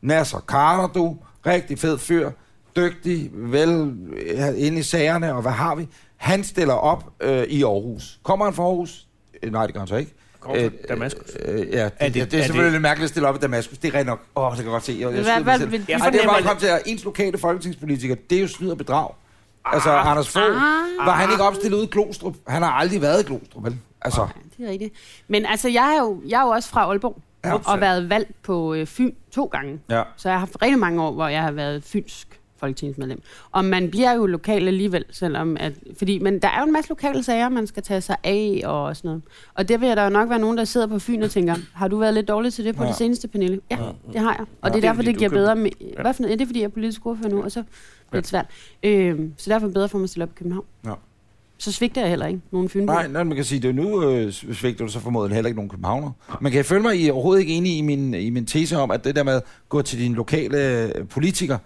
Nasser Carter, du, rigtig fed fyr, dygtig, vel øh, inde i sagerne, og hvad har vi? Han stiller op øh, i Aarhus. Kommer han fra Aarhus? Øh, nej, det gør han så ikke.
Kommer fra Damaskus.
Øh, øh, ja, det,
Er
er
det-
det, ja, det er
er
selvfølgelig
det-
lidt mærkeligt at stille op i Damaskus. Det er rent nok. Åh, oh, det kan jeg godt se. Jeg, jeg
Hvad-
snyder mig
hvad-
selv.
vil- ligesom
Ej, det er bare kom til, at ens lokale folketingspolitiker, det er jo snyd og bedrag. Altså, Anders
ah.
Fogh, var han ikke opstillet ude i Glostrup? Han har aldrig været i Glostrup, vel? Altså,
Det er rigtigt. Men altså, jeg er jo, jeg er jo også fra Aalborg,
Ja.
ja. og været valgt på øh, Fyn to gange.
ja.
Så jeg har haft rigtig mange år, hvor jeg har været fynsk folketingsmedlem. Og man bliver jo lokal alligevel, selvom at, fordi, men der er jo en masse lokale sager, man skal tage sig af og sådan noget. Og der vil der jo nok være nogen, der sidder på Fyn og tænker, har du været lidt dårlig til det på
Ja.
ja. det seneste, Pernille? Ja, det har jeg. Og
Ja.
det er
Det er
derfor,
fordi,
det
du
giver
køber-
bedre... Med, Hvad for noget? Ja, det er, fordi jeg er politisk ordfører nu, og så er det lidt svært. Øhm, så derfor er det bedre for mig at stille op i København.
Ja.
Så svigter jeg heller ikke nogen fynbo.
Nej, nej, man kan sige, det er nu øh, svigter du så formodentlig heller ikke nogen københavner. Man kan følge mig, I er overhovedet ikke enige i min, i min tese om, at det der med at gå til din lokale øh, politiker.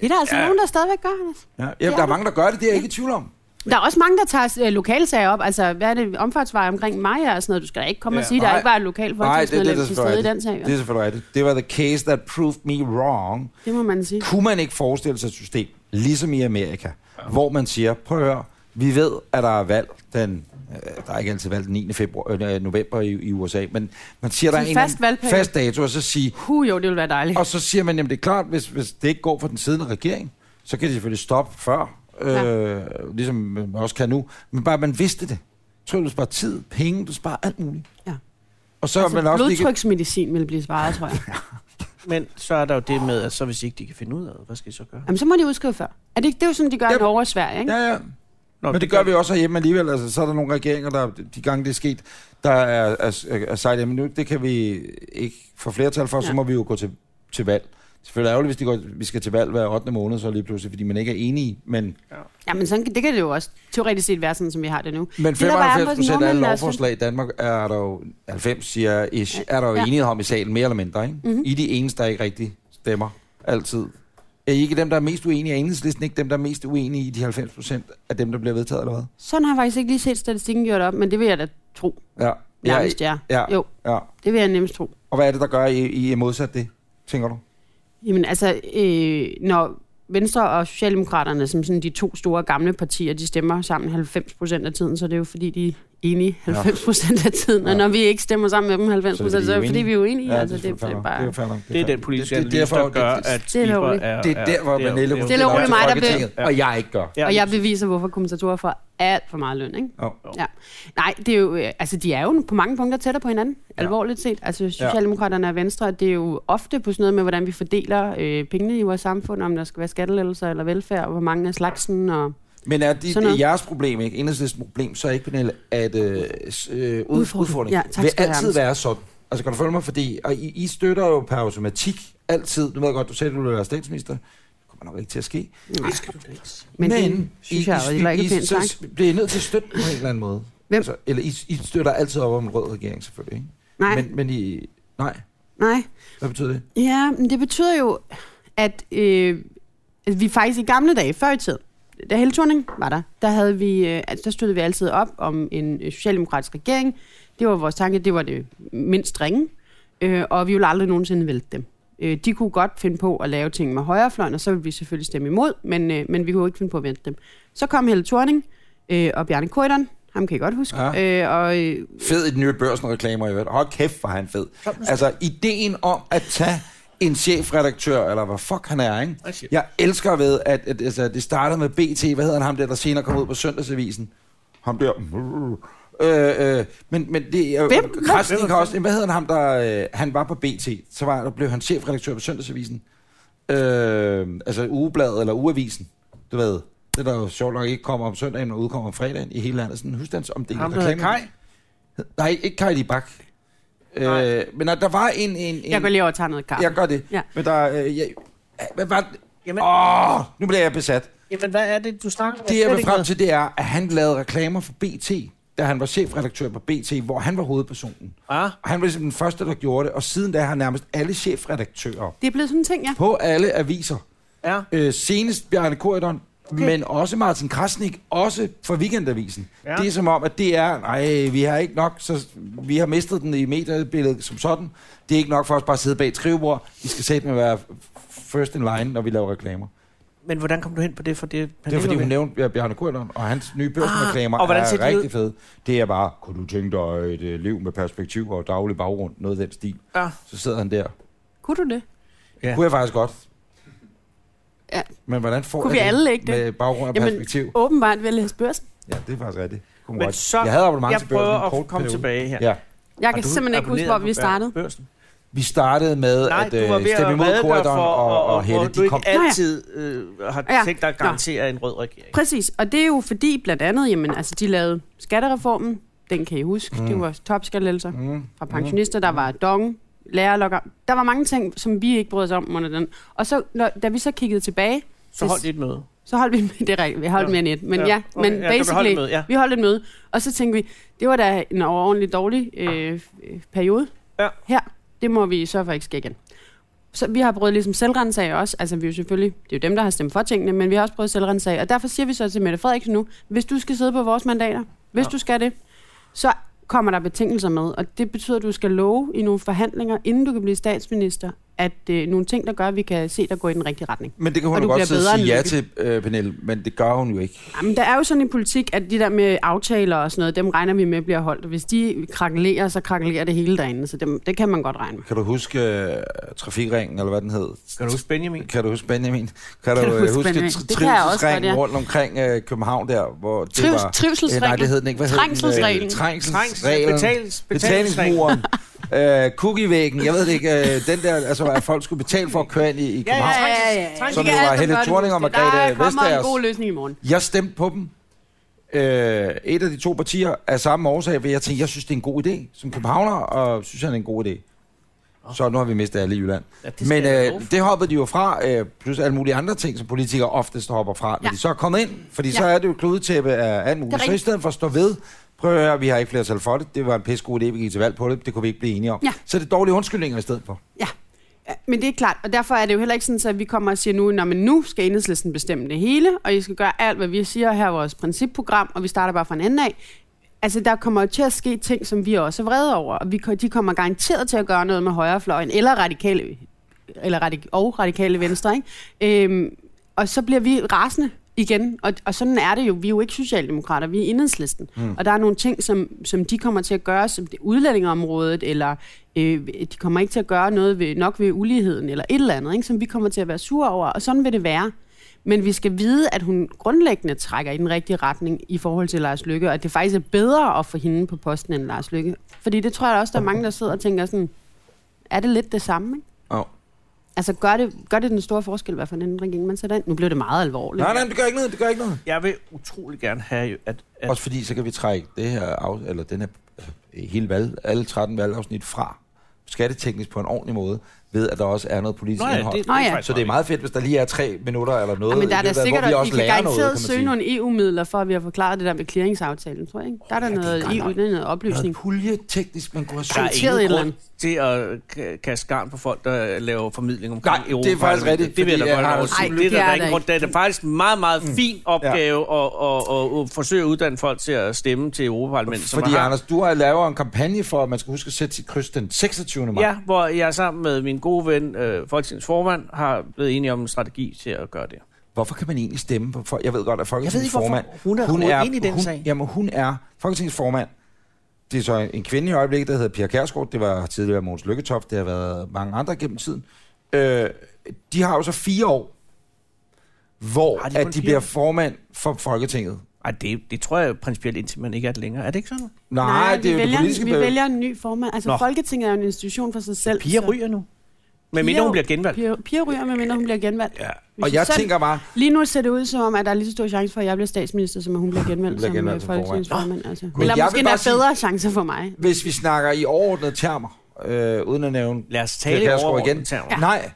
Det er der altså
Ja.
ja. nogen, der stadigvæk gør, Anders.
Ja, ja, der er mange, der gør det, det er jeg ikke i tvivl om.
Der er også mange, der tager øh, lokalsager op. Altså, hvad er det omfartsvej omkring Maja og sådan noget? Du skal da ikke komme
Ja.
og sige, at
Nej.
der ikke var et lokal folketingsmedlem til stede i den sag.
Det er
Det,
selvfølgelig rigtigt. Det var the case that proved me wrong.
det må man sige.
Kunne man ikke forestille sig et system, ligesom i Amerika, ja. hvor man siger, prøv at høre, Vi ved, at der er valg den... øh, Der er ikke altid valg den 9. Februar, øh, november i, i USA, men man siger, der er en
Sådan
eller
fast
anden
valgperiode.
fast dato, og så sige,
Huh, jo, det ville være dejligt.
Og så siger man, jamen det er klart, hvis, hvis det ikke går for den siddende regering, så kan de selvfølgelig stoppe før, øh, ja. ligesom man også kan nu. Men bare man vidste det. Tror du, du sparer tid, penge, du sparer alt muligt.
Ja.
Og så altså, man
Altså,
også ikke...
blodtryksmedicin ville blive svaret, tror jeg.
Men så er der jo det med, at så hvis ikke de kan finde ud af det, hvad skal de så gøre?
Jamen, så må de udskrive før. Er det, ikke, det er jo sådan, de gør
Ja.
i Norge og Sverige, ikke?
Ja, ja.
Nå,
Men det gør vi også herhjemme alligevel. Altså, så er der nogle regeringer, der de gange det er sket, der er, er, er sejt, jamen nu, det kan vi ikke få flertal for, ja. så
Ja.
må vi jo gå til, til valg. Selvfølgelig ærgerligt, hvis de går, vi skal til valg hver 8. måned, så lige pludselig, fordi man ikke er enige, men
Jamen, sådan, kan- det kan det jo også teoretisk set være sådan, som vi har det nu.
Men
Det, der bare er på
95
sådan
procent af alle
nordmænd,
lovforslag i Danmark er der jo, 90 siger jeg ish, er der jo
Ja. Mhm.
enighed om i salen, mere eller mindre. Ikke? Mm-hmm. I er de eneste, der ikke rigtig stemmer, altid. Er I ikke dem, der er mest uenige af enhedslisten, ikke dem, der er mest uenige i de 90 procent af dem, der bliver vedtaget, eller hvad?
Sådan har jeg faktisk ikke lige set statistikken gjort op, men det vil jeg da tro.
Ja.
Nærmest ja.
ja.
Jo,
ja.
det vil jeg nemmest tro.
Og hvad er det, der gør, at I, I er modsat det, tænker du?
Jamen altså, øh, når Venstre og Socialdemokraterne, som sådan de to store gamle partier, de stemmer sammen 90 procent af tiden, så er det jo fordi, de er enige 90 procent af tiden. Og
Ja.
når vi ikke stemmer sammen med dem 90
Så er det,
procent,
fordi
så er
I
det
er
fordi, vi er uenige. Ja, altså, det,
selvfølgelig
det,
fair nok.
er bare...
Det er fair nok.
Det er
fair
den
nok.
politiske
det, det, er
analyse,
derfor,
der gør,
det,
at
Stille
Bieber
og roligt.
er...
det er der, hvor
er-
man alle
er-
Stille og roligt mig, der blev-
der og jeg ikke gør.
Ja.
Og jeg beviser, hvorfor kommentatorer får alt for meget løn, ikke?
Jo.
Ja. Nej, det er jo, øh, altså, de er jo på mange punkter tættere på hinanden, ja. alvorligt set. Altså Socialdemokraterne og Venstre, det er jo ofte på sådan noget med, hvordan vi fordeler øh, pengene i vores samfund, om der skal være skattelettelser eller velfærd, og hvor mange af slagsen. Og...
Men er det,
Sådan
det er
noget.
jeres problem, ikke? Enhedslisten problem, så er ikke, Pernille, at øh, s- øh, ud,
Udfordring.
udfordringen
Ja,
ja,
tak
vil
skal du have,
altid
Anders.
være sådan. Altså, kan du følge mig? Fordi og I, I støtter jo per automatik altid. Nu ved jeg godt, du sagde, at du ville være statsminister. Det kommer nok ikke til at ske.
Nej,
Men,
Men det
Men
synes jeg jo heller ikke
I,
er pænt
så
sagt.
s- bliver I nødt til at støtte på en eller anden måde.
Hvem?
Altså, eller I, I støtter altid op om en rød regering, selvfølgelig. Ikke?
Nej.
Men, men I, nej.
nej.
Hvad betyder det?
Ja, men det betyder jo, at, øh, at vi faktisk i gamle dage, før i tid, da Helle Thorning var der, der, havde vi, øh, altså, der støttede vi altid op om en øh, socialdemokratisk regering. Det var vores tanke, det var det mindst ringe, øh, og vi ville aldrig nogensinde vælte dem. Øh, de kunne godt finde på at lave ting med højrefløjen, og så ville vi selvfølgelig stemme imod, men, øh, men vi kunne jo ikke finde på at vælte dem. Så kom Helle Thorning øh, og Bjarne Korydon, ham kan I godt huske, ja. øh, og øh,
Fed i den nye børsen-reklamer i øvrigt. Hold kæft, var han fed. Altså, ideen om at tage en chefredaktør, eller hvad fuck han er, ikke?
Hvad siger du?
Jeg elsker ved, at, at altså, det startede med BT, hvad hedder han, ham der, der senere kom ud på Søndagsavisen? Ham der... Øh, øh, men, men det er
Hvem?
Krasnik har også... Hvad hedder han, ham, der... Øh, han var på BT, så var, der blev han chefredaktør på Søndagsavisen. Øh, altså ugebladet eller ugeavisen, du ved. Det der jo sjovt nok ikke kommer om søndagen, men udkommer om fredagen i hele landet. Sådan en husstandsomdeling.
Ham, der hedder Kaj?
Nej, ikke Kylie Bak. Øh, men der, der var en... en, en
jeg går lige over og tager noget kaffe.
Jeg gør det.
Ja.
Men der... Øh, jeg, hvad var det?
Jamen-
Åh, nu bliver jeg besat.
Jamen, hvad er det, du snakker om?
Det, jeg vil frem til, det er, at han lavede reklamer for BT, da han var chefredaktør på BT, hvor han var hovedpersonen.
Ah.
Og han var ligesom den første, der gjorde det, og siden da har nærmest alle chefredaktører
Det er blevet sådan en ting, ja.
på alle aviser.
Ja.
Øh, senest Bjarne Korydon, okay. men også Martin Krasnik, også fra Weekendavisen. Ja.
Ja.
Det er som om, at det er, nej, vi har ikke nok, så vi har mistet den i mediebilledet som sådan. Det er ikke nok for os bare at sidde bag et skrivebord. Vi skal sætte med at være first in line, når vi laver reklamer.
Men hvordan kom du hen på det? For det,
Det er fordi, hun nævnte ja, Bjarne Korydon, og hans nye børsreklamer
Ah, og
ah,
hvordan ser
er
de ud?
rigtig fede. Det er bare, kunne du tænke dig et øh, liv med perspektiv og daglig baggrund, noget af den stil.
Ja.
Så sidder han der.
Kunne du det?
Ja.
Kunne jeg faktisk godt.
Ja.
Men hvordan får
Kunne
jeg
vi alle ikke det?
med baggrund og perspektiv?
åbenbart ved at læse børsen.
Ja, det er faktisk rigtigt. Kom
Men
godt.
så,
jeg havde abonnement
jeg
til børsen.
prøver
en kort
at komme
periode.
tilbage her.
Ja.
Jeg
Har
kan
du
simpelthen ikke huske,
abonneret
hvor vi
på
startede.
Børsen?
Vi startede med
Nej,
at
du var
øh,
ved at
stemme imod
redegøre
Korydon
for,
og, og, og
hvor
Helle.
du
De
ikke
kom
altid øh, har
Ja.
tænkt dig at
Nå.
garantere en rød regering.
Præcis, og det er jo fordi blandt andet, jamen, altså, de lavede skattereformen, den kan I huske, mm. det var topskattelettelser mm. fra pensionister, der var dong, lærerlokker. Der var mange ting, som vi ikke brød os om under den. Og så, når, da vi så kiggede tilbage,
Så hold dit møde.
så holdt vi, det er rigtigt, vi holdt
Ja.
ja. mere end et, men
Ja.
ja, ja
Okay,
men
ja,
basically,
du holdt et møde, ja.
vi holdt et møde, og så tænkte vi, det var da en overordentlig dårlig øh, øh, periode
Ja.
her, det må vi sørge for ikke sker igen. Så vi har prøvet ligesom selvrensag også, altså vi er jo selvfølgelig, det er jo dem, der har stemt for tingene, men vi har også prøvet selvrensag, og derfor siger vi så til Mette Frederiksen nu, hvis du skal sidde på vores mandater, hvis
Ja.
ja. du skal det, så kommer der betingelser med, og det betyder, at du skal love i nogle forhandlinger, inden du kan blive statsminister, at øh, nogle ting, der gør, at vi kan se, der går i den rigtige retning.
Men det kan
Og
hun jo
du
godt
bliver
sidde og
bedre
sige ja
end Lykke.
til, øh, Pernille, men det gør hun jo ikke.
Jamen, der er jo sådan en politik, at de der med aftaler og sådan noget, dem regner vi med bliver holdt. Hvis de krakelerer, så krakelerer det hele derinde, så dem, det kan man godt regne med.
Kan du huske øh, trafikringen, eller hvad den hed?
Kan du huske Benjamin?
Kan du huske Benjamin? Kan, du, øh, huske, huske
Benjamin?
tri-
Det kan jeg også godt,
trivselsringen
ja.
rundt omkring øh, København der, hvor det
Trivs-
var...
trivselsreglen.
Øh, nej, det hed den ikke. Hvad hed den? Øh,
Trængselsreglen.
Trængs,
Trængselsreglen.
betales, betalingsring.
Betalingsmuren. øh, cookievæggen. Jeg ved det ikke. Øh, den der, altså, at folk skulle betale for at køre ind i, i
Ja,
København.
ja, ja, ja.
Som jo var Helle Thorning og Margrethe
Der kommer en
Vestagers.
god løsning i morgen.
Jeg stemte på dem. Øh, et af de to partier af samme årsag, fordi jeg tænkte, jeg synes, det er en god idé som københavner, og synes, han er en god idé. Så nu har vi mistet alle i Jylland.
Ja, det skal
Men
jeg love
øh, det hoppede de jo fra, øh, plus alle mulige andre ting, som politikere oftest hopper fra, når
Ja.
de så er kommet ind. Fordi
Ja.
så er det jo kludetæppe af alt
Det
muligt.
er
Så i
rigtigt.
stedet for at stå ved, prøv at høre, vi har ikke flertal for det, det var en pisse god idé, vi gik til valg på det, det kunne vi ikke blive enige om.
Ja.
Så er det dårlige undskyldninger i stedet for.
Ja. Ja, Men det er klart, og derfor er det jo heller ikke sådan, så at vi kommer og siger nu, "Nå, men nu skal enhedslisten bestemme det hele, og I skal gøre alt, hvad vi siger her i vores principprogram, og vi starter bare fra en anden af. Altså, der kommer jo til at ske ting, som vi også er vrede over, og vi, ko- de kommer garanteret til at gøre noget med højrefløjen, eller radikale, eller radik- og radikale venstre, ikke? Øhm, og så bliver vi rasende igen, og, og sådan er det jo. Vi er jo ikke socialdemokrater, vi er enhedslisten. Mm. Og der er nogle ting, som, som de kommer til at gøre, som det udlændingeområdet, eller øh, de kommer ikke til at gøre noget ved, nok ved uligheden, eller et eller andet, ikke? som vi kommer til at være sure over, og sådan vil det være. Men vi skal vide, at hun grundlæggende trækker i den rigtige retning i forhold til Lars Lykke, og at det faktisk er bedre at få hende på posten end Lars Lykke. Fordi det tror jeg også, der er mange, der sidder og tænker sådan, er det lidt det samme? Ikke?
Oh.
Altså, gør det, gør det den store forskel, hvad for en regering man sætter ind? Nu blev det meget alvorligt.
Nej, nej, det gør ikke noget, det gør ikke noget.
Jeg vil utrolig gerne have, at... at
Også fordi, så kan vi trække det her, af, eller den her øh, hele valg, alle 13 valgafsnit fra skatteteknisk på en ordentlig måde, ved at der også er noget politisk
Nå
Nå,
ja,
indhold.
det,
Det,
Nå ja.
faktisk
så det er meget fedt, hvis der lige er tre minutter eller noget,
Ja, men der er
i
da
løbet af- hvor
sikkert,
vi
at vi
også
kan
lærer noget, kan
garanteret
man
søge
sige.
nogle EU-midler, for at vi har forklaret det der med clearingsaftalen, tror jeg ikke? Der er der
ja, det er
noget
godt
EU,
nok.
det er noget oplysning.
Noget puljeteknisk, man kunne have søgt.
Der er
Sorteret et
ingen
eller
grund til at k- kaste garn på folk, der laver formidling omkring
Nej, det er
Europa.
faktisk rigtigt,
Det vil jeg
fordi
da godt
jeg har Mm.
have
absolut-
sige. Det er der,
Nej,
der
det
ingen
er
grund
der
til. Det er faktisk en meget, meget fin opgave at, at, at, at forsøge at uddanne folk til at stemme til Europaparlamentet. som
Fordi
har-
Anders, du har lavet en kampagne for, at man skal huske at sætte sit kryds den 26. maj.
Ja, hvor jeg sammen med min gode ven, øh, Folketingets formand, har blevet enige om en strategi til at gøre det.
Hvorfor kan man egentlig stemme på folk? Jeg ved godt, at Folketingets
Jeg ved ikke,
formand...
hvorfor hun er overhovedet inde i den
hun,
sag.
Jamen, hun er Folketingets formand. Det er så en kvinde i øjeblikket, der hedder Pia Kærsgaard. Det var tidligere Måns Lykketoft. Det har været mange andre gennem tiden. Øh, de har jo så fire år, hvor
Har de
de
kun
at de
fire
bliver
år?
formand for Folketinget.
Ej, det, det tror jeg principielt, indtil man ikke er det længere. Er det ikke sådan?
Nej, det er
vi,
jo det
vælger,
politiske...
vi
bevæg-
vælger en ny formand. Altså,
Nå.
Nå. Folketinget er jo en institution for sig selv.
Piger
så-
ryger nu. Men mindre
Piger-
hun bliver genvalgt.
Piger, piger ryger, medmindre hun bliver genvalgt.
Ja.
Hvis
Og
hun
jeg
selv-
tænker bare,
Lige nu ser det ud som om, at der er lige så stor chance for, at jeg bliver statsminister, som at hun bliver genvalgt
bliver
som
genvalgt
øh,
som formand.
Folketingets formand. Altså.
Gud, jeg
Eller
vil
måske
bare
der er
sige-
bedre chancer for mig.
hvis vi snakker i overordnede termer, øh, uden at nævne
Lad os
Pia
tale
Kjærsgaard
over
igen.
igen. Termer.
Ja. Nej,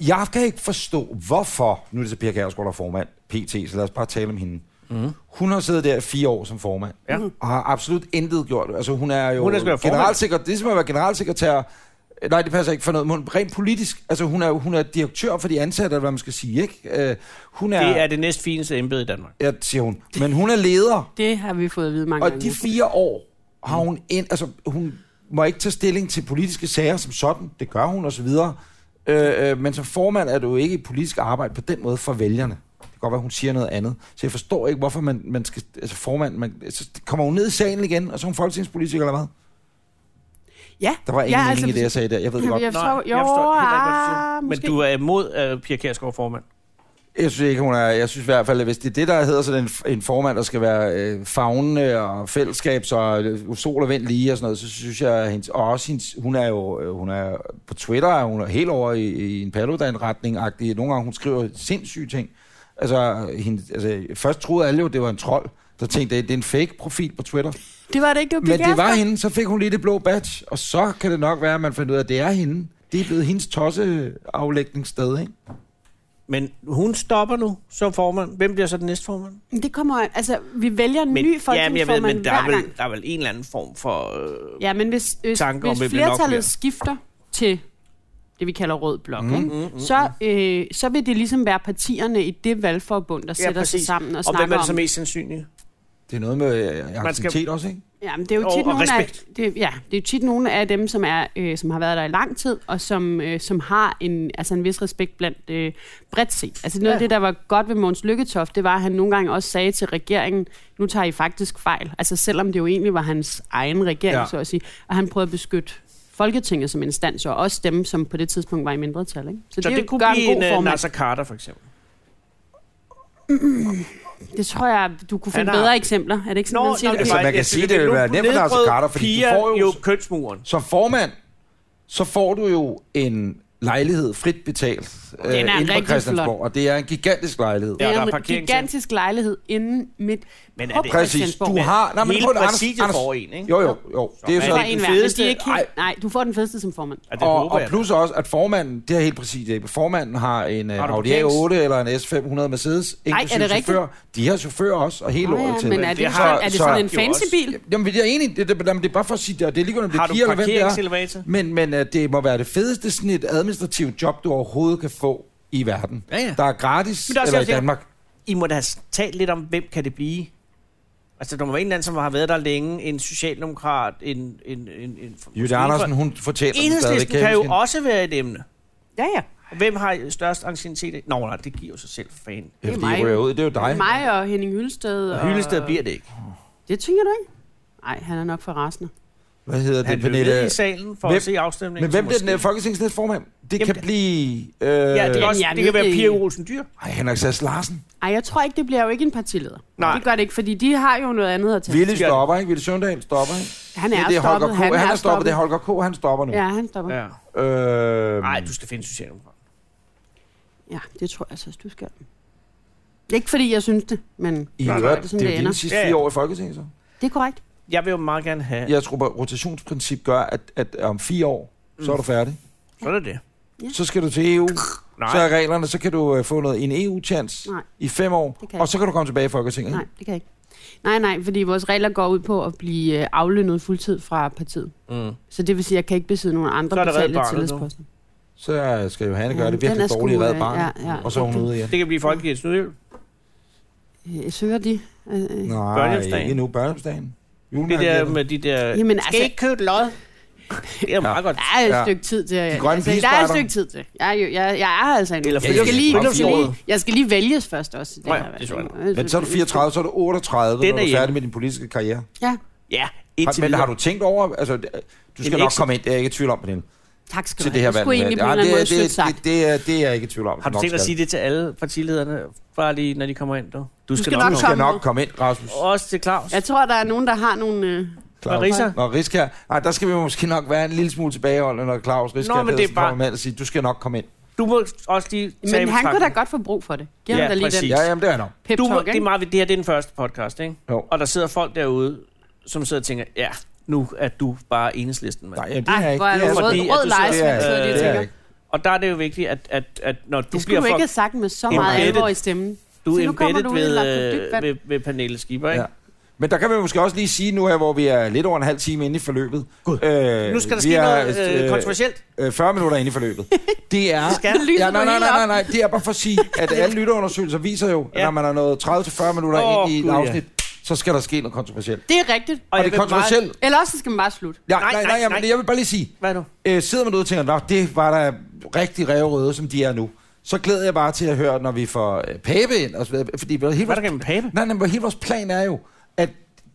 jeg kan ikke forstå, hvorfor, nu er det så Pia Kjærsgaard, der er formand, PT, så lad os bare tale om hende. Mm. Hun har siddet der i fire år som formand,
Mhm. Ja.
og har absolut intet gjort. Altså hun er jo
Hun er sgu da formand.
generalsekretær, det er som at være generalsekretær, Nej, det passer ikke for noget, men hun- rent politisk, altså hun er, hun er direktør for de ansatte, eller hvad man skal sige, ikke? Øh, hun er,
Det er det næst fineste embede i Danmark.
ja, siger hun, men hun er leder,
Det har vi fået at vide mange
og
gange.
de fire år har hun ind, altså hun må ikke tage stilling til politiske sager som sådan, det gør hun osv., øh, øh, men som formand er du jo ikke i politisk arbejde på den måde for vælgerne. Det kan godt være, hun siger noget andet. Så jeg forstår ikke, hvorfor man, man skal... Altså formand, man, så kommer hun ned i salen igen, og så er hun folketingspolitiker eller hvad?
Ja,
Der var ingen
ja, altså,
ja, mening i det, jeg sagde der. Jeg ved det godt.
Jeg
Nej,
forstår,
jeg
jo,
forstår heller ikke, hvad du siger.
ah,
Men
måske.
du er imod uh, Pia Kjærsgaard formand.
Jeg synes ikke, hun er... Jeg synes i hvert fald, at hvis det er det, der hedder sådan en, en formand, der skal være øh, fagnende og fællesskab, så øh, sol og vind lige og sådan noget, så synes jeg, at hendes, og også hendes, hun er jo øh, hun er på Twitter, er hun er helt over i, i en paludan-retning agtig. Nogle gange hun skriver sindssyge ting. Altså, hende, altså, først troede alle jo, det var en trold. Der tænkte jeg, det er en fake profil på Twitter.
Det var det ikke, det var
Men det var
Kjærsgaard.
hende, så fik hun lige det blå badge, og så kan det nok være, at man finder ud af, at det er hende. Det er blevet hendes tosseaflægningssted, ikke?
Men hun stopper nu som formand. Hvem bliver så den næste formand?
Det kommer, altså, vi vælger en ny
jamen, jeg ved,
folketingsformand
men der er,
hver gang.
vel, der er vel en eller anden form for... Øh,
Ja, men hvis, hvis,
tanker om,
hvis
det bliver nok mere.
flertallet skifter til det, vi kalder rød blok, mm, ikke? Mm, mm, så, øh, så vil det ligesom være partierne i det valgforbund, der ja, sætter sig
præcis.
sammen og,
og hvem
snakker
er det så
om...
mest sandsynligt?
Det er noget med øh,
Man skal-
aktivitet også, ikke?
Ja, men det er jo
Og-
tit,
og
nogle af,
respekt.
det, ja, det er jo tit nogle af dem, som, er, øh, som har været der i lang tid, og som, øh, som har en, altså en vis respekt blandt øh, bredt set. Altså noget ja. af det, der var godt ved Måns Lykketoft, det var, at han nogle gange også sagde til regeringen, nu tager I faktisk fejl. Altså selvom det jo egentlig var hans egen regering,
Ja.
ja. så at sige. Og han prøvede at beskytte Folketinget som instans, og også dem, som på det tidspunkt var i mindretal. Ikke? Så,
Så
det,
det,
det
kunne
gør
blive
en
en, øh, altså-
god
en
formand.
Nasser Carter, for eksempel.
Det tror jeg, du kunne
Han
finde
har-
bedre eksempler. Er det ikke sådan, man siger det?
altså, man kan sige, det ville være nemt for Nasser Carter, fordi de
Pia
får jo-
jo kønsmuren.
Som formand, så får du jo en lejlighed frit betalt øh,
Den er
inde på
rigtig
Christiansborg,
flot.
og det er en gigantisk lejlighed.
Ja,
Det
der er
er en
parkering til.
gigantisk lejlighed inden midt
Men er
på
det-
Præcis.
Christiansborg.
Du har... Nej, men
Hele
prøv at-
præsidiet får en, ikke?
Jo, jo, jo. Det er jo
man
Så
er
så,
ikke den
en hver, men
fedeste.
de er ikke
Ej.
helt, nej, du får den fedeste som formand.
Og det
og,
håber
og
jeg da.
plus også, at formanden, det er helt præcis det, formanden har en øh,
Har du
Audi
parkerings-
A8 eller en S500 Mercedes, inklusive
det rigtigt?
chauffør. De har chauffør også, og hele
Nå
året
ja,
til.
men er
det
det, det,
har-
sådan, er det
så-
sådan en
jo
fancy
også-
bil?
Jamen, det er jeg enig. i. Det, det, jamen, det er bare for at sige, det, og det er ligegyldigt, om det
Har
er
du
piger eller hvem det er.
parkeringselevator?
Men, men øh, det må være det fedeste sådan et administrativt job, du overhovedet kan få i verden.
Ja, ja.
Der er gratis,
Men der er også-
eller i
jeg-
Danmark.
I må da have talt lidt om, hvem kan det blive? Altså, der må være en eller anden, som har været der længe, en socialdemokrat, en... en, en, en
Jytte Andersen, hun fortæller den stadig.
Enhedslisten kan
jeg
jo
huske hende?
også være et emne.
Ja, ja.
Hvem har størst anciennitet? i- Nå, nej, det giver jo sig selv for fanden.
Ja,
Det er
fordi jeg
mig.
ryger ud. Det er jo dig.
Mig og Henning Hyllested.
Og Hyllested bliver det ikke.
Det tænker du ikke? Nej, han er nok for rasende.
Hvad hedder
Han
det,
blev med i
Pernille?
salen for
hvem-
at se afstemningen.
Men hvem
så
bliver den øh,
måske-
folketingsnæste formand? Det
Jamen,
kan blive... Øh, ja,
Ja, det kan, også,
jeg
det kan
ved
være
det
Pia
ikke.
Olsen Dyr.
Ej, Henrik Sass Larsen.
Ej, jeg tror ikke, det bliver jo ikke en partileder.
Nej.
Det gør det ikke, fordi de har jo noget andet at tage.
Ville
Skal-
stopper, ikke? Ville Søndal stopper, ikke?
Han er,
det, det er
stoppet.
Holger K. Han, er stoppet. Det er Holger K. Han stopper nu.
Ja, han stopper. Ja.
Ja.
Øh,
Nej, du skal finde Socialdemokrat.
ja, det tror jeg så, du skal. Ikke fordi jeg synes det, men
I
Nej,
øvrigt,
nej, det er
det, det
sådan, det
er jo
ender.
dine sidste
Ja, ja.
fire år i Folketinget, så.
det er korrekt.
Jeg vil jo meget gerne have...
Jeg tror, at rotationsprincip gør, at, at om fire år, så er
Mm.
du færdig.
Så er det det.
Så skal du til EU.
Nej.
Så er reglerne, så kan du øh, få noget, en EU-chance
Nej.
i fem år,
Det kan
og så kan du komme tilbage i Folketinget.
Nej,
ikke?
det kan jeg ikke. Nej, nej, fordi vores regler går ud på at blive øh, aflønnet fuldtid fra partiet.
Mm.
Så det vil sige, at jeg kan ikke besidde nogen
Så
andre
er det Red
betalte
Barnet nu.
tillidsposter.
Så skal Johanne gøre
Ja,
det
den er
virkelig
sgu,
dårligt i Red
øh,
Barnet,
ja, ja.
og så er hun ude igen.
Det kan blive Folkekirkens Nødhjælp.
Øh, Søger de? Øh, øh.
Nej,
Børnehjemsdagen.
endnu børnehjemsdagen.
Det der
Julemærket.
med de der...
Jamen,
skal
altså-
I ikke købe et lod? Det er meget godt.
Der er et
Ja.
ja. stykke tid til. altså,
De grønne
der er
pigespejder.
et stykke tid til. Jeg er, jo, jeg, jeg er her altså en.
Eller
jeg, skal lige, jeg, skal
friluftsåret.
lige, jeg skal lige vælges først også. i
Nå ja,
her
øh, det tror jeg
valg. Altså,
Men så er du 34, så er du 38,
Den
når du
er
er
hjemme.
færdig med din politiske karriere.
Ja,
Ja,
Har,
indtil
men har
videre.
du tænkt over, altså, det- du skal nok
exit.
komme ind, det er jeg ikke i tvivl om, Pernille,
tak skal du
til
have.
det her
Jeg skulle
valg.
egentlig på en
Ja,
eller anden
det,
måde
er-
støtte
det,
sagt.
det, det, er, det er jeg ikke i tvivl om.
Har du
Nok
tænkt dig at
skal.
sige det til alle partilederne, bare lige, når de kommer ind? Du, du skal,
nok
Du
komme.
skal
Kom nu.
nok komme ind, Rasmus.
Også til Claus.
Jeg tror, der er nogen, der har nogle... Øh,
Og Risa.
Nå, Riska, nej, der skal vi måske nok være en lille smule tilbageholdende, når Claus Riska
Nå, men det er
Pedersen
bare-
kommer med og siger, du skal nok komme ind.
Du må også lige tage
men
i
han kunne da
betragtning.
godt få brug for det. Giv
Ja,
ham da lige
præcis.
den
Ja, jamen, det er nok.
pep
du må,
talk,
det, er
ikke?
meget, det her det er den første podcast, ikke?
Jo.
Og der sidder folk derude, som sidder og tænker, ja, nu er du bare enhedslisten, mand.
Nej, jamen, det er
Ej,
jeg ikke.
hvor er
Det
det
er jeg
rød,
fordi, at du
rød
slet-
lejer,
det er
lejse.
jeg-
sidder de og
det er
tænker.
jeg ikke.
Og der er det jo vigtigt, at, at, at når du
Det skulle
bliver
du ikke
for,
have sagt med så meget
Embedded.
alvor i stemmen.
du
Se,
er
nu kommer
embedded
du ud i
ved,
lagt på dybt
ved,
vand.
ved, ved Pernille Skipper, ikke?
Ja. Men der kan vi måske også lige sige nu her, hvor vi er lidt over en halv time inde i forløbet. Øh,
Nu skal der
vi
ske
er,
noget øh, kontroversielt.
øh, 40 minutter inde i forløbet. Det er...
Skal
lyser
Ja, nej,
du
nej,
helt
nej, nej,
op.
nej. Det er bare for at sige, at alle lytterundersøgelser viser jo, at
Ja.
når man er nået 30-40 minutter
Åh,
ind i
Gud,
et
ja.
afsnit, så skal der ske noget kontroversielt.
Det er rigtigt.
Og,
jeg
det er
vil
kontroversielt.
Meget...
Eller også så skal man bare slutte.
Ja, nej,
Nej,
nej,
nej,
nej, nej,
nej.
men jeg vil bare lige sige,
Hvad nu?
øh, sidder man derude og tænker, nå, det var da rigtig revrøde, som de er nu. Så glæder jeg bare til at høre, når vi får øh, Pape ind, og så videre, fordi hele vores,
Hvad er der gennem pape?
nej, nej, men hele vores plan er jo, at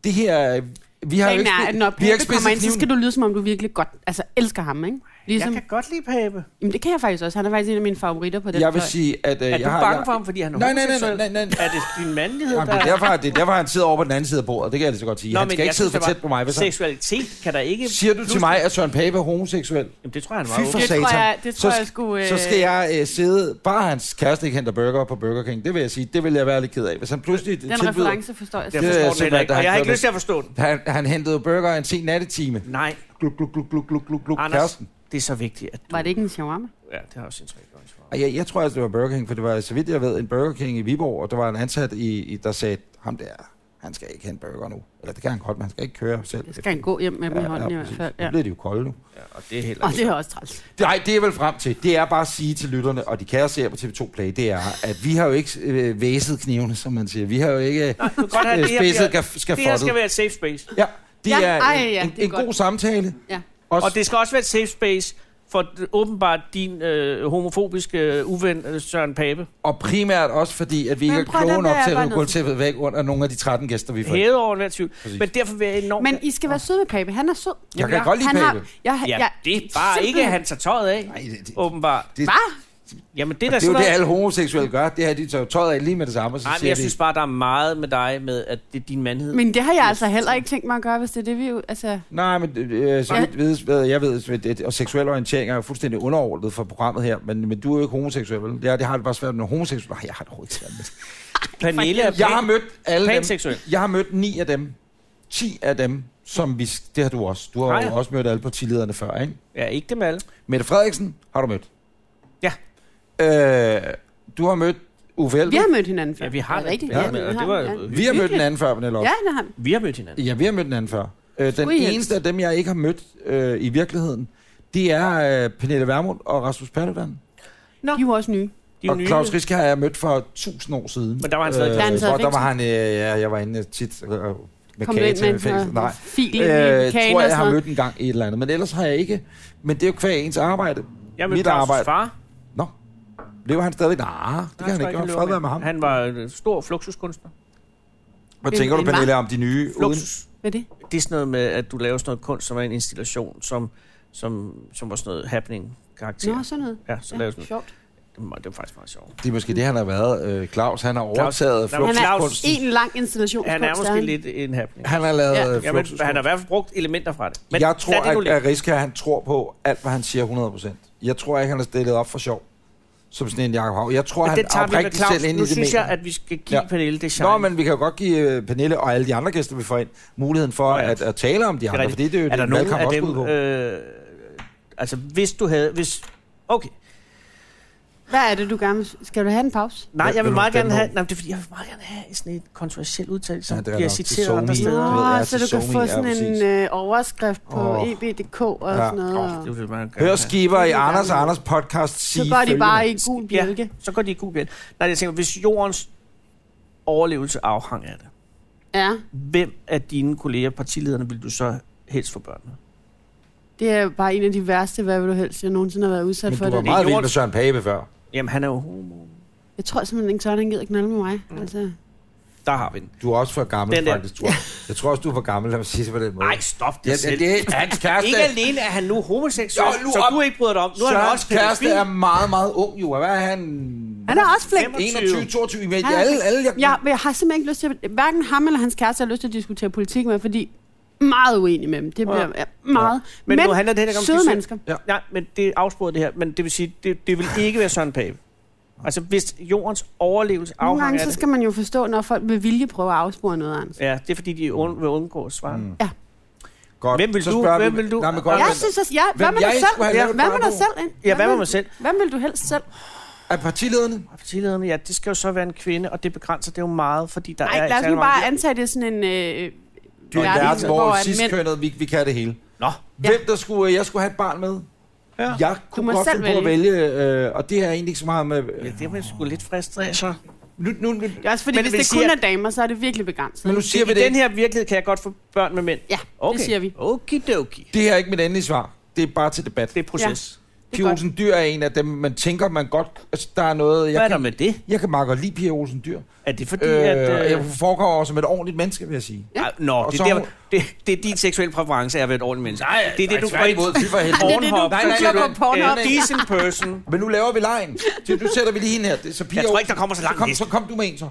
det her, øh, vi har jo
Planen
ikke,
er, at når
vi har ikke
Pape kommer ind, så
kniven.
skal du lyde, som om du virkelig godt altså, elsker ham, ikke? Ligesom,
Jeg kan godt lide pape.
Øh,
Jamen, det kan jeg faktisk også. Han er faktisk en af mine favoritter på den
Jeg vil
fløj.
sige, at øh,
Er
jeg
du
har...
bange
jeg,
for ham, fordi han er
Nej, nej, nej,
homoseksuel?
nej, nej, nej.
Er det din mandlighed,
Jamen, det, er
der...
derfor, det er derfor, han sidder over på den anden side af bordet. Det kan jeg lige så godt sige. Nå, han skal ikke sidde for tæt på mig. Hvis han...
Seksualitet kan der ikke...
Siger du til mig, at Søren Pape er homoseksuel?
Jamen, det tror jeg, han var
Fy for
åben.
Det tror jeg- det tror
så,
jeg sgu, øh,
så skal jeg øh, sidde... Bare hans kæreste ikke henter burger på Burger King. Det vil jeg sige. Det vil jeg være lidt ked af. Hvis han pludselig
Den reference forstår jeg.
Jeg
Det er
forstår den
simpelthen,
heller ikke,
at
og jeg har
han
ikke
gør
lyst til at forstå den.
Han, han hentede burger en sen nattetime.
Nej,
Gluk, gluk, gluk, gluk, gluk, gluk, gluk.
Anders,
Kæresten.
det er så vigtigt, at du...
Var det ikke en shawarma?
Ja, det har også sin træk.
Ej, Jeg, jeg tror altså, det var Burger King, for det var, så vidt jeg ved, en Burger King i Viborg, og der var en ansat, i, i der sagde, ham der, han skal ikke have en burger nu. Eller det kan han godt, men han skal ikke køre selv.
Det skal han gå hjem med dem i hånden i hvert
præcis.
fald.
Nu
Ja.
bliver de jo kolde nu.
Ja, og det er heller
Og
ikke.
det er også træls.
Nej, det er vel frem til. Det er bare at sige til lytterne, og de kære ser på TV2 Play, det er, at vi har jo ikke øh, væset knivene, som man siger. Vi har jo ikke
Du kan godt have,
øh,
det, her bliver,
spidset gaf-
det her skal
skafottet.
være et safe space.
Ja, det
Ja,
er
ej,
en,
ja,
en,
det er
en god
godt.
samtale.
Ja.
Også,
Og det skal også være et safe space for åbenbart din øh, homofobiske øh, uven øh, Søren Pape.
og primært også fordi, at vi ikke
Men
er
prøv at lade
kloge nok
være,
til at
bare
rive
noget-
gulvtæppet væk under nogle af de 13 gæster, vi får. ind.
Hævet over den her tvivl.
Præcis.
Men derfor vil jeg enormt...
Men I skal være søde ved Pape. Han er sød.
Jeg kan godt lide
han
Pape.
jeg,
ja,
jeg,
det er bare ikke, at han tager tøjet af,
Nej, det, det,
åbenbart.
det,
Hvad?
Jamen, det er da
det er jo det,
sådan noget...
alle homoseksuelle gør. Det her, de tager jo tøjet af lige med det samme, og så
Nej, men
siger
jeg
de,
synes bare, der er meget med dig, med at det er din mandhed.
Men det har jeg altså heller ikke tænkt mig at gøre, hvis det er det, vi... jo- Altså,
Nej, men øh, så
Ja.
vidt ved, hvad jeg ved, så vidt, det- og seksuel orientering er jo fuldstændig underordnet for programmet her, men, men du er jo ikke homoseksuel, vel? Ja, det har det bare svært med homoseksuel. Nej, jeg har det overhovedet ikke svært med. det.
Pernille er
Jeg har mødt alle dem.
panseksuel.
Jeg har mødt ni af dem. Ti af dem, som vi... Det har du også. Du har
Har
jo
jeg?
også mødt alle partilederne før, ikke?
Ja, ikke dem alle.
Mette Frederiksen har du mødt.
Ja.
Øh, du har mødt Uffe Elbæk.
vi har mødt hinanden før.
Ja, vi har
det. er Rigtigt.
Ja,
Ja,
men-
vi
og
har,
det var
ja.
jo-
vi har mødt den anden før, Pernille.
Ja, det har vi.
Vi har mødt hinanden.
Ja, vi har mødt den anden før. Øh, den
Skulle I helst?
eneste af dem, jeg ikke har mødt øh, i virkeligheden, det er øh, Pernille Vermund og Rasmus Paludan.
De er jo også nye.
De er
Og
nye.
Claus Riske har jeg mødt for tusind år siden.
Men der var han stadig-
Der er han stadig
hvor der var
i
han, øh, ja, jeg var inde tit øh, med
Kom
kage
ind
til
med
med fængsel. Nej,
en fil i
øh,
kagen
tror
og
jeg, jeg har
sådan noget.
mødt en gang i et eller andet. Men ellers har jeg ikke. Men det er jo kvæg ens arbejde.
Jeg mødte
Mit
Claus'
arbejde.
far.
Nå, lever han stadigvæk? Nej, det kan han
tror
ikke.
han
Han
lever
fred være med ham.
Han var en stor fluxuskunstner.
Hvad
Men-
tænker du,
men hvad?
Pernille, om de nye? Uden...
Fluxus.
Hvad er det?
Det er sådan noget med, at du laver sådan noget kunst, som er en installation, som, som, som var sådan noget happening-karakter.
Nå, sådan noget.
Ja, så
Ja,
laver sådan
sjovt.
noget. Det var faktisk meget sjovt.
Det er måske det, han har været. Øh, Claus, han har overtaget
Claus-
Han
Fluxus.
er
Claus-
en lang installationskunst.
Han er
er
måske lidt en happening.
Han har lavet øh,
Ja.
ja.
Ja, men han har i hvert fald brugt elementer fra det. Men
Men jeg
lad det nu
tror, at,
ligge.
at Riske, han tror på alt, hvad han siger 100%. Jeg tror ikke, han har stillet op for sjov. Som sådan en Jacob Hav. Jeg tror,
Men
han
det tager vi med
oprigtigt
Claus.
selv ind i
Nu
det
synes
mener.
jeg, at vi skal give
Ja.
Pernille det shine.
Nå, men vi kan jo godt give øh, Pernille og alle de andre gæster, vi får ind, muligheden for
Nå ja.
at, at tale om de andre, fordi
rigtigt.
det er jo
er der
det,
nogen
valgkamp
af
også
dem,
går ud på.
øh, altså hvis du havde, hvis, okay,
Hvad er det, du gerne vil- Skal du have en pause?
nej,
Hvem
jeg vil
vil du
meget gerne
stemme
have,
på?
nej, det er fordi, jeg vil meget gerne have sådan et kontroversielt udtalelse, som
Ja, det er
bliver
nok til
citeret andre
Sony.
steder.
ved,
Nå,
ja,
så
til
du kan
Sony,
få
ja,
sådan en
præcis.
øh, overskrift på E
Åh.
eb.dk og
Ja.
sådan noget.
Det vil man gerne
Hør
have.
skiver i
Det er
Anders og
gerne.
Anders podcast sige
Så går de bare
følgende.
i gul bjælke.
så går de i gul bjælke. Nej, jeg tænker, hvis jordens overlevelse afhang af det,
Ja,
hvem af dine kolleger, partilederne, vil du så helst få børn med?
det er bare en af de værste, hvad vil du helst, jeg nogensinde har været udsat
Men
for.
du var
Det.
meget vild
Jorden-
med Søren Pape før.
Jamen, han er jo homo.
Jeg tror simpelthen ikke, Søren han gider knalde med mig.
Mm.
Altså.
Der har vi den.
Du er også for gammel,
Den der.
faktisk, tror jeg. Jeg tror også, du er for gammel, lad mig sige det på den måde.
Nej, stop det
Ja,
selv.
det er hans kæreste.
Ikke alene er han nu homoseksuel,
Jo, nu
så
op.
du ikke bryder dig om. Nu er han
Sørens
også pædofil.
kæreste er meget, meget ung, jo. Hvad er han?
Han er også flink.
21, 22, men
Han er
alle,
flink.
alle, jeg,
Jeg, jeg har simpelthen ikke lyst til, at, hverken ham eller hans kæreste har lyst til at diskutere politik med, fordi meget uenig med dem. Det bliver ja. meget. Ja.
Men nu handler det heller ikke om
søde
seksuel-
mennesker.
Ja.
Nej, men det afsporer det her. Men det vil sige, det, det vil ikke være Søren Pape. Altså, hvis jordens overlevelse
Nogle
afhænger
gange
af
så
det.
skal man jo forstå, når folk med vilje prøver at afspore noget andet.
Ja, det er fordi, de un- vil undgå svaret. Mm.
Godt.
Hvem vil
så
du?
spørger
Hvem
vi-
vil du?
Nej, men
Ja,
godt,
Jeg
men-
synes også, ja, hvad
Hvem
med
jeg
dig
ikke
selv?
skulle have
Ja,
lavet
Hvad med
et
dig
barnebord?
selv? ind?
Ja, hvad med mig
vil-
selv?
Hvem vil du helst selv?
Er partilederne?
Partilederne, ja, det skal jo så være en kvinde, og det begrænser det jo meget, fordi der er
Nej, lad os nu bare antage, det er sådan en... Øh,
Det er en
verden,
verden, hvor
at
sidstkønnet, vi, vi kan det hele.
Nå,
Hvem der skulle, øh, jeg skulle have et barn med?
Ja.
Jeg
må
kunne godt
selv
finde på at vælge, øh, og det er egentlig ikke så meget med...
ja,
Øh,
det er man sgu lidt fristet af, så.
nu, nu, nu,
Det er også fordi,
Men
men, hvis
vil
det
sige,
kun
at-
er damer, så er det virkelig begrænset.
men nu
I
siger vi det.
den
ikke.
her virkelighed kan jeg godt få børn med mænd.
Ja, okay. det siger vi.
Okidoki.
Det her er ikke mit endelige svar. Det er bare til debat.
Det er proces.
er
Pia
godt.
Olsen Dyr er en af dem, man tænker, man godt... Altså, der er noget...
Hvad er
Jeg
der
kan,
med det?
jeg kan meget godt lide Pia Olsen Dyr.
Er det fordi,
Øh,
at...
og
Øh,
jeg foregår også som et ordentligt menneske, vil jeg sige.
ej, Nå,
Og
det,
så-
er der, det, det er din seksuelle præference er at være et ordentligt menneske. Nej, det er det, du går ind
tværtimod. Fy for helvede.
det er det, du
Pornhub.
Nej, nej, nej,
plukker på
nej.
Pornhub.
Øh, decent person.
Men nu laver vi lejen. Så nu sætter vi lige hende her. Det, så Pia
Jeg tror
Olsen-
ikke, der kommer så langt
Så kom,
liste.
så kom du med en så.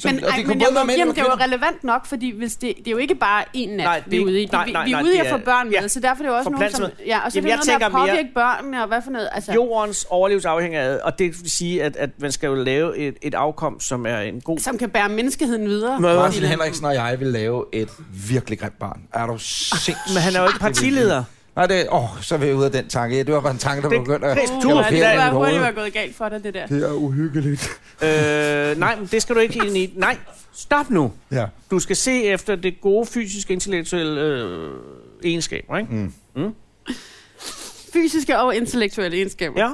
så
Men,
og
ej,
kunne
men
både
jeg må
være mænd
give
og
dem, det er jo
kvinder.
relevant nok, fordi hvis det, det er jo ikke bare en nat,
Nej, det er
vi er
ikke-
ude i. Det,
nej,
vi,
nej,
vi er
nej,
ude i
det
at få
er-
børn med,
ja.
så derfor er det jo også
For
nogen,
plads
som...
med.
Ja, og så er
Jamen, jeg
det noget med at
tænker mere-
påvirke børnene, og hvad for noget... Altså,
Jordens overlevelse afhænger af, og det vil sige, at, at man skal jo lave et, et afkom, som er en god...
som kan bære menneskeheden videre.
Martin Henriksen og jeg vil lave et virkelig grimt barn. Er du sindssyg?
Men han er jo ikke partileder.
Nej, det, åh, så vil jeg ud af den tanke. Ja, det var bare en tanke, der
Det-
begyndte at...
Chris,
jeg
du
var
er
var, det
ferien i
var
hovedet.
hurtigt, var gået galt for dig, det der.
Det er uhyggeligt.
Øh, nej, men det skal du ikke ind i. Nej, stop nu.
Ja.
Du skal se efter det gode fysiske intellektuelle øh, egenskaber, ikke? Mm.
Fysiske og intellektuelle egenskaber.
Ja.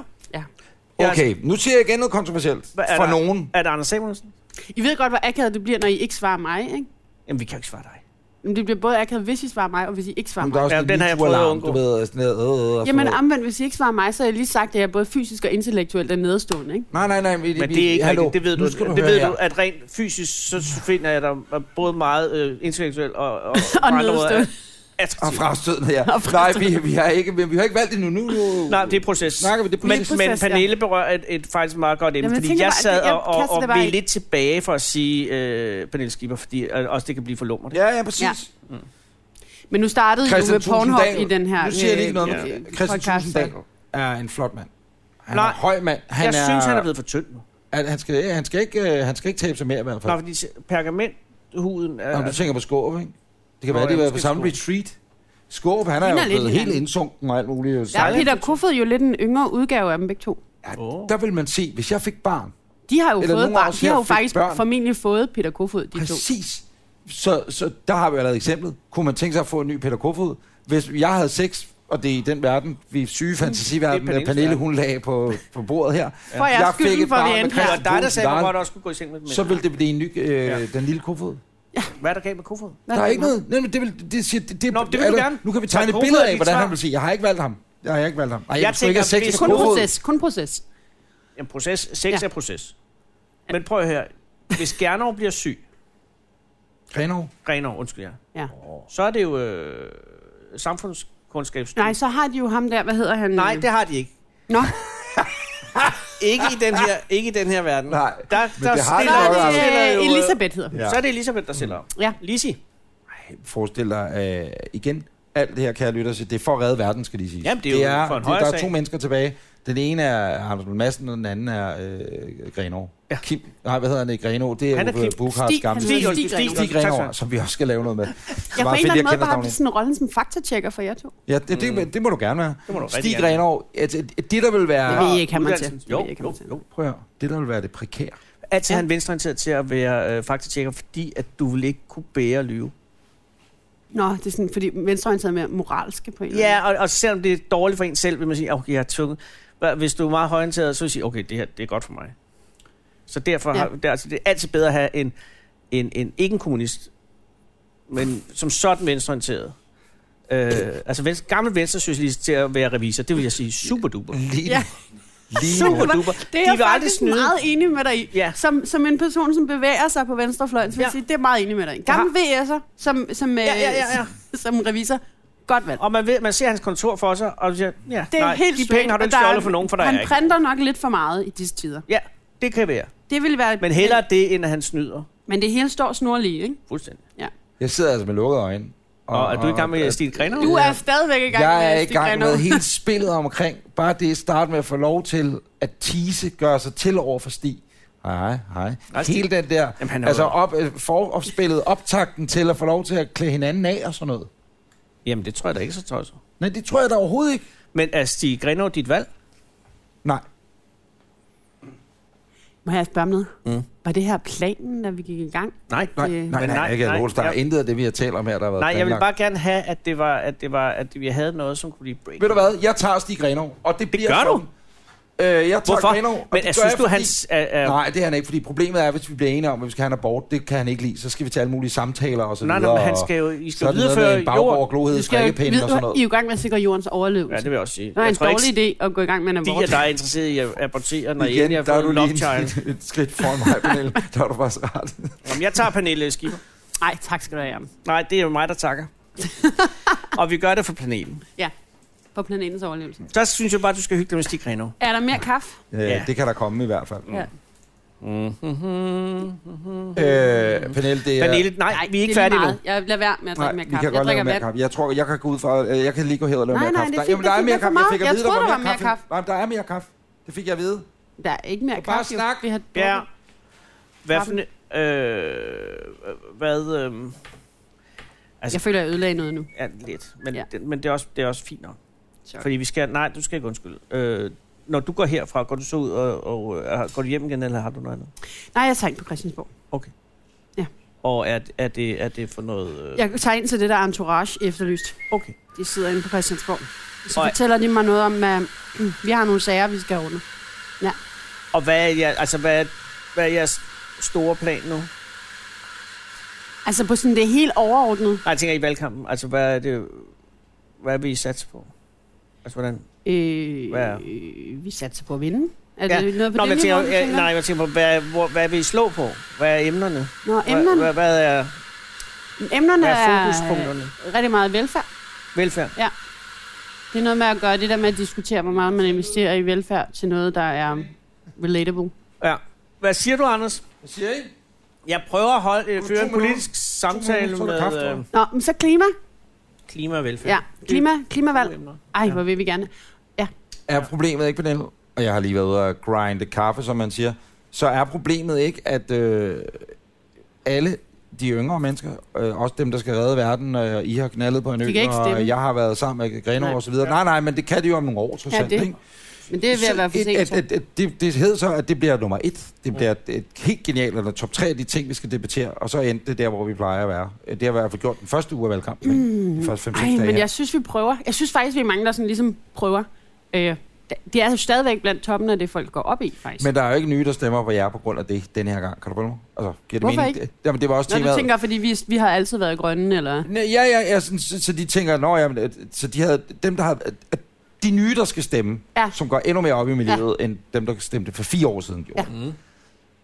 ja.
Okay, nu siger jeg igen noget kontroversielt.
altså- Hvad er
For
der?
nogen.
Er det Anders Samuelsen?
I ved godt, hvor akavet det bliver, når I ikke svarer mig, ikke?
Jamen, vi kan jo ikke svare dig.
Men det bliver både akavet, hvis I svarer mig, og hvis I ikke svarer
Jamen, der er
mig.
også
Ja,
en
den har jeg prøvet at
MeToo-alarm,
undgå.
du ved, og sådan noget. øh, øh, og
Jamen
sådan noget.
omvendt, hvis I ikke svarer mig, så har jeg lige sagt, at jeg er både fysisk og intellektuelt er nedstående, ikke?
Nej, nej, nej. Vi,
Men
vi-
det er ikke
hallo,
rigtigt, det ved
nu
du.
skal
det
høre
ved
her.
du, at rent fysisk, så finder jeg dig både meget øh, intellektuel og, og,
Og
på andre måder
nedstående.
Og
attraktiv.
frastødende, ja.
Og
Nej,
frastødende.
vi, vi, har ikke, vi, vi har ikke valgt det nu. nu, nu.
Nej, det er proces.
Snakker vi det er
Men,
proces.
proces,
men
ja.
Pernille berører et, et faktisk meget godt emne,
Jamen, jeg
fordi jeg,
tænker bare, at
sad
det- jeg
og, og,
kaster det
og
bare
blev
ind.
lidt tilbage for at sige øh, Pernille Skipper, fordi øh, også det kan blive for lummert.
Ja, ja, præcis.
Ja. Men nu startede I jo med
Thulesen Dahl.
Pornhub i den her
Nu siger jeg lige noget.
øh,
Ja.
øh,
Christian
podcast.
Thulesen Dahl er en flot mand. Han
Nej.
er høj mand. Han
jeg
er,
synes, han er blevet for tynd nu.
at han, skal, han, skal ikke, øh, han skal ikke tabe sig mere i hvert
Nå,
fald.
fordi se- pergamenthuden er...
Nå, du tænker på Skåb, ikke? Det kan
Nå,
være, det
ja,
har været på
måske
samme
Skårup.
retreat. Skåb, han er jo
Ligner lidt
blevet helt
hinanden.
indsunken og alt muligt. jo.
Der
Så-
er Peter Kofod jo lidt en yngre udgave af dem begge to.
Åh.
Der vil man se, hvis jeg fik barn,
De har jo
Eller
fået
nogen af
barn.
os
De
her
har jo
fik
faktisk
børn.
børn. formentlig fået Peter Kofod, de to.
Præcis. Så, så der har vi allerede eksemplet. Kunne man tænke sig at få en ny Peter Kofod? Hvis jeg havde sex, og det er i den verden, vi er syge fantasiverden,
Det er
at
Pernilles
Pernille
verden.
hun lagde på, på bordet her.
Får jeg skylden for, at vi
med
endte
Det
her?
var
Christian
dig, der sagde,
Thulesen
at
Dahl.
man godt også skulle gå i seng med mænd.
Så vil det blive en ny, øh,
Ja.
den lille Kofod.
Hvad er der galt med kofoden?
Hvad
Der er
det
ikke
for?
noget. Nej, men det vil, det, siger, det, det,
Nå, det vil du
altså,
gerne.
Nu kan vi
Så
tegne et
Kofod
billede
er
af,
dit
hvordan
svar.
han vil sige. Jeg har ikke valgt ham. Jeg har ikke valgt ham. Ej, jeg,
Jeg
jeg skulle ikke have
tænker,
sex
hvis-
med
Kun
Kofod.
proces, kun proces.
Jamen, proces. Sex
Ja.
er proces. Men prøv at høre. Hvis Gernov bliver syg,
Grenov.
Grenov, undskyld jer,
Ja.
så er det jo øh, samfundskundskabs...
Nej, så har de jo ham der, hvad hedder han?
Nej, det har de ikke.
Nå,
Ikke i den her, ikke i den her verden.
Nej,
der, der
men det har
så
Nå,
stiller,
er
det
der
er
stiller
det
jo,
øh,
øh,
Elisabeth hedder. hun.
Ja.
Så er det Elisabeth, der stiller op.
Ja.
Lisi.
forestil dig øh, igen, alt det her, kære lytter, så det er for at redde verden, skal de sige.
Jamen, det er jo for en
det, Der
højere
er to
sag.
mennesker tilbage. Den ene er Anders Lund Madsen, og den anden er øh, Grenaa. Ja. Kim, nej, hvad hedder han ikke? Grenaa, det er,
Han er
Uffe
Kim.
Buchards
Stig,
gamle
han
Stig,
Stig,
hedder
Stig,
Stig
Stig.
Stig
Tak,
Grenaa,
tak.
som vi også skal lave noget med. Det er
Jeg
meget
får en
fedt,
eller anden måde
kender
bare
navnet.
haft sådan en rolle som faktatjekker for jer to.
Ja, det,
Mm.
det, det, må du gerne være.
Det må du rigtig
Stig
gerne.
Grenaa, et, et, et, det der vil
Det
være...
ved I ikke, han man til.
Uddannelsen.
Det
Jo,
ved I ikke,
jo,
han til.
jo.
Prøv at høre, det der vil være det prekære.
Altid ja.
Ja.
han venstreorienteret til at være øh, faktatjekker, fordi at du vil ikke kunne bære at lyve.
Nå, det er sådan, fordi venstreorienterede er mere moralske på en eller anden
Ja, og, og selvom det er dårligt for en selv, vil man sige, okay, jeg er tvunget. Hva- Hvis du er meget højorienteret, så vil du sige, okay, det her det er godt for mig. Så derfor
Ja.
ja. har, der, altså, det er altid bedre at have en, en, en ikke en kommunist, men som sådan venstreorienteret. Øh, altså venstre, gammel venstresocialist til at være revisor, det vil jeg sige super duper.
Lige,
Ja.
ja. lige nu.
Super duper.
Det er
De vil
jeg
aldrig
faktisk
snyde.
meget enig med dig i.
Ja.
Som, som en person, som bevæger sig på venstrefløjen, så vil jeg
Ja.
sige, det er meget enig med dig i. Gammel VS'er, som, som, ja,
ja, ja, ja.
som revisor, godt valgt.
Og man, ved, man ser hans kontor for sig, og siger, ja,
Det
nej,
er Nej, helt
de
straight,
penge har du
og
ikke
der er-
stjålet for nogen, for der
Han
er ikke.
printer nok lidt for meget i disse tider.
Ja, det kan være.
Det vil være...
Men hellere det, end at han snyder.
Men det hele står snorlige, ikke?
Fuldstændig.
Jeg sidder altså med lukkede øjne.
Og er du i gang med Stig Grenner?
Du er stadigvæk i gang med...
jeg er i
at stikke dig
gang med
noget.
hele spillet omkring. Bare det at starte med at få lov til at tease, gøre sig til over for Stig. Hej, hej.
Hej, Stig.
Hele den der,
Jamen, han er
altså
jo-
op, øh, forspillet optakten til at få lov til at klæde hinanden af og sådan noget.
Jamen, det tror jeg da ikke så tosset.
Nej, det tror jeg da overhovedet ikke.
Men er Stig Grenaa dit valg?
Nej.
Må jeg spørge om noget? Mm. Var det her planen, da vi gik i gang?
Nej.
Nej,
Øh,
nej, nej,
men
nej,
nej,
ikke
nej,
nej, Der er
jeg-
intet af det, vi har talt om her, der har været
Nej, jeg vil
planlagt.
bare gerne have, at det var, at det var, at vi havde noget, som kunne blive break.
Ved du hvad? Jeg tager Stig Grenov, og det bliver
gør du?
sådan. Øh, jeg tager
Hvorfor?
Grenov, og
Men
det
jeg
gør
synes
jeg,
du,
fordi-
hans... Øh, øh,
Nej, det er han ikke, fordi problemet er, hvis vi bliver enige om, at vi skal have en abort, det kan han ikke lide. Så skal vi til alle mulige samtaler og så
nej, nej,
videre.
men han
og-
skal jo... I
Så er
skal
det noget med
videreføre
en baggård,
jorden.
glohed,
Du skal jo
strikkepinde og sådan
I er
noget.
jo i gang med at sikre jordens overlevelse.
Ja, det vil jeg også sige.
det var en
Jeg tror
dårlig
ikke,
idé at gå i gang med en
fordi
abort.
at der er interesseret i at abortere, når
Igen,
Igen, jeg
der
har
er
fået
du
en love
lige
child.
en, et skridt foran mig, Pernille. Der er du faktisk ret.
Jamen, jeg tager Pernille Skipper.
Nej, tak skal du have.
Nej, det er jo mig, der takker. og vi gør det for planeten.
Ja, på planetens overlevelse.
Så synes jeg bare, du skal hygge dig med Stig Grenaa.
Er der mere kaffe?
Ja. Øh, Det kan der komme i hvert fald.
Ja.
Øh, Pernille, det er...
Mm-hmm. Pernille, nej, nej, vi er ikke
det lige
færdige nu.
meget. Jeg lader være med at
Nej,
drikke mere
vi
kaffe.
kan godt lave
jeg
mere kaffe. Jeg tror, jeg kan gå ud fra... øh, Jeg kan lige gå her og lave
Nej,
mere
nej,
kaffe.
det er
Der-
fint,
Jamen, der
det
er
er
mere
fint, det er
kaffe.
for
Jeg fik at
meget.
vide,
Jeg
der
troede,
var mere
der var mere
kaffe. Nej, der er mere kaffe. Det fik jeg at vide.
Der er ikke mere
Du bare
kaffe. jo.
snak.
Vi har
Ja.
drukket.
Hvad for en, øh, hvad, øh, Altså-
Jeg føler, jeg ødelagde noget nu.
øhm, Ja, lidt. Men,
Ja.
ja. det, men det, er også, det er også fint nok.
Sorry.
Fordi vi skal... Nej, du skal ikke undskylde. Øh, når du går herfra, går du så ud og, og øh, går du hjem igen, eller har du noget andet?
Nej, jeg tager ind på Christiansborg.
Og er, er, det, er det for noget... Øh,
Jeg tager ind til det der entourage efterlyst.
Okay.
De sidder inde på Christiansborg. Så
Og-
fortæller de mig noget om, at vi har nogle sager, vi skal runde.
Og hvad er, jer, altså, hvad, er, hvad er jeres store plan nu?
Altså på sådan det helt overordnede.
Nej, jeg tænker i valgkampen. Altså, hvad er det... Hvad vil I satse på? Altså, hvordan...
Øh,
Hvad er-
øh, vi satser på at vinde. Er
Ja.
det noget på
Nå,
det
men jeg tænker,
niveau, du
jeg,
tænker?
nej, jeg tænker på, hvad, hvor, hvad vil I slå på? Hvad er emnerne?
Nå,
Hvad-
emnerne,
Hvad, hvad, er,
emnerne
hvad er
er,
fokuspunkterne?
øh, rigtig meget velfærd.
Velfærd?
Det er noget med at gøre det der med at diskutere, hvor meget man investerer i velfærd til noget, der er relatable.
Ja. Hvad siger du, Anders?
Hvad siger I?
Jeg prøver at holde, øh,
Om
føre
to
en
minutter.
politisk samtale
minutter, så er der kaffe,
med
tror jeg.
øh,
Nå, men så klima.
klima og velfærd.
Ja, klima, klimavalg.
Emner.
Ej,
Ja.
hvor vil vi gerne.
Er problemet ikke, Pernille, og jeg har lige været ude og grinde kaffe, som man siger, så er problemet ikke, at øh, alle de yngre mennesker, øh, også dem, der skal redde verden, øh, I har knaldet på en ø,
De kan ikke
og
stemme.
jeg har været sammen med Grenaa
Nej.
og så videre. Nej, nej, men det kan de jo om nogle år, trods
Ja,
alt,
det
ikke?
Men det er ved at være for
Så
sent.
et-
så.
et- et- Det, det hedder så, at det bliver nummer et. Det bliver et, et helt genialt, eller top tre af de ting, vi skal debattere, og så endte det der, hvor vi plejer at være. Øh, Det har i hvert fald gjort den første uge af valgkampen,
Mm.
ikke? De første 5-6
Ej,
dage.
men
her.
jeg synes, vi prøver. Jeg synes faktisk, vi mangler sådan ligesom prøver. Øh, det er altså stadigvæk blandt toppen af det, folk går op i, faktisk. Men,
Men der er jo ikke nye, der stemmer på jer på grund af det den her gang. Kan du følge mig? Altså, giver det
Hvorfor
mening?
ikke?
Det, jamen, det var også
Når
temaet.
du tænker, fordi vi, vi har altid været grønne, eller...
Næ, ja, ja, ja sådan, så, så, de tænker, nå, jamen, at- så de havde, dem, der havde, at- at de nye, der skal stemme,
Ja.
som går endnu mere op i miljøet, end dem, der stemte for fire år siden gjorde.
Mm-hmm.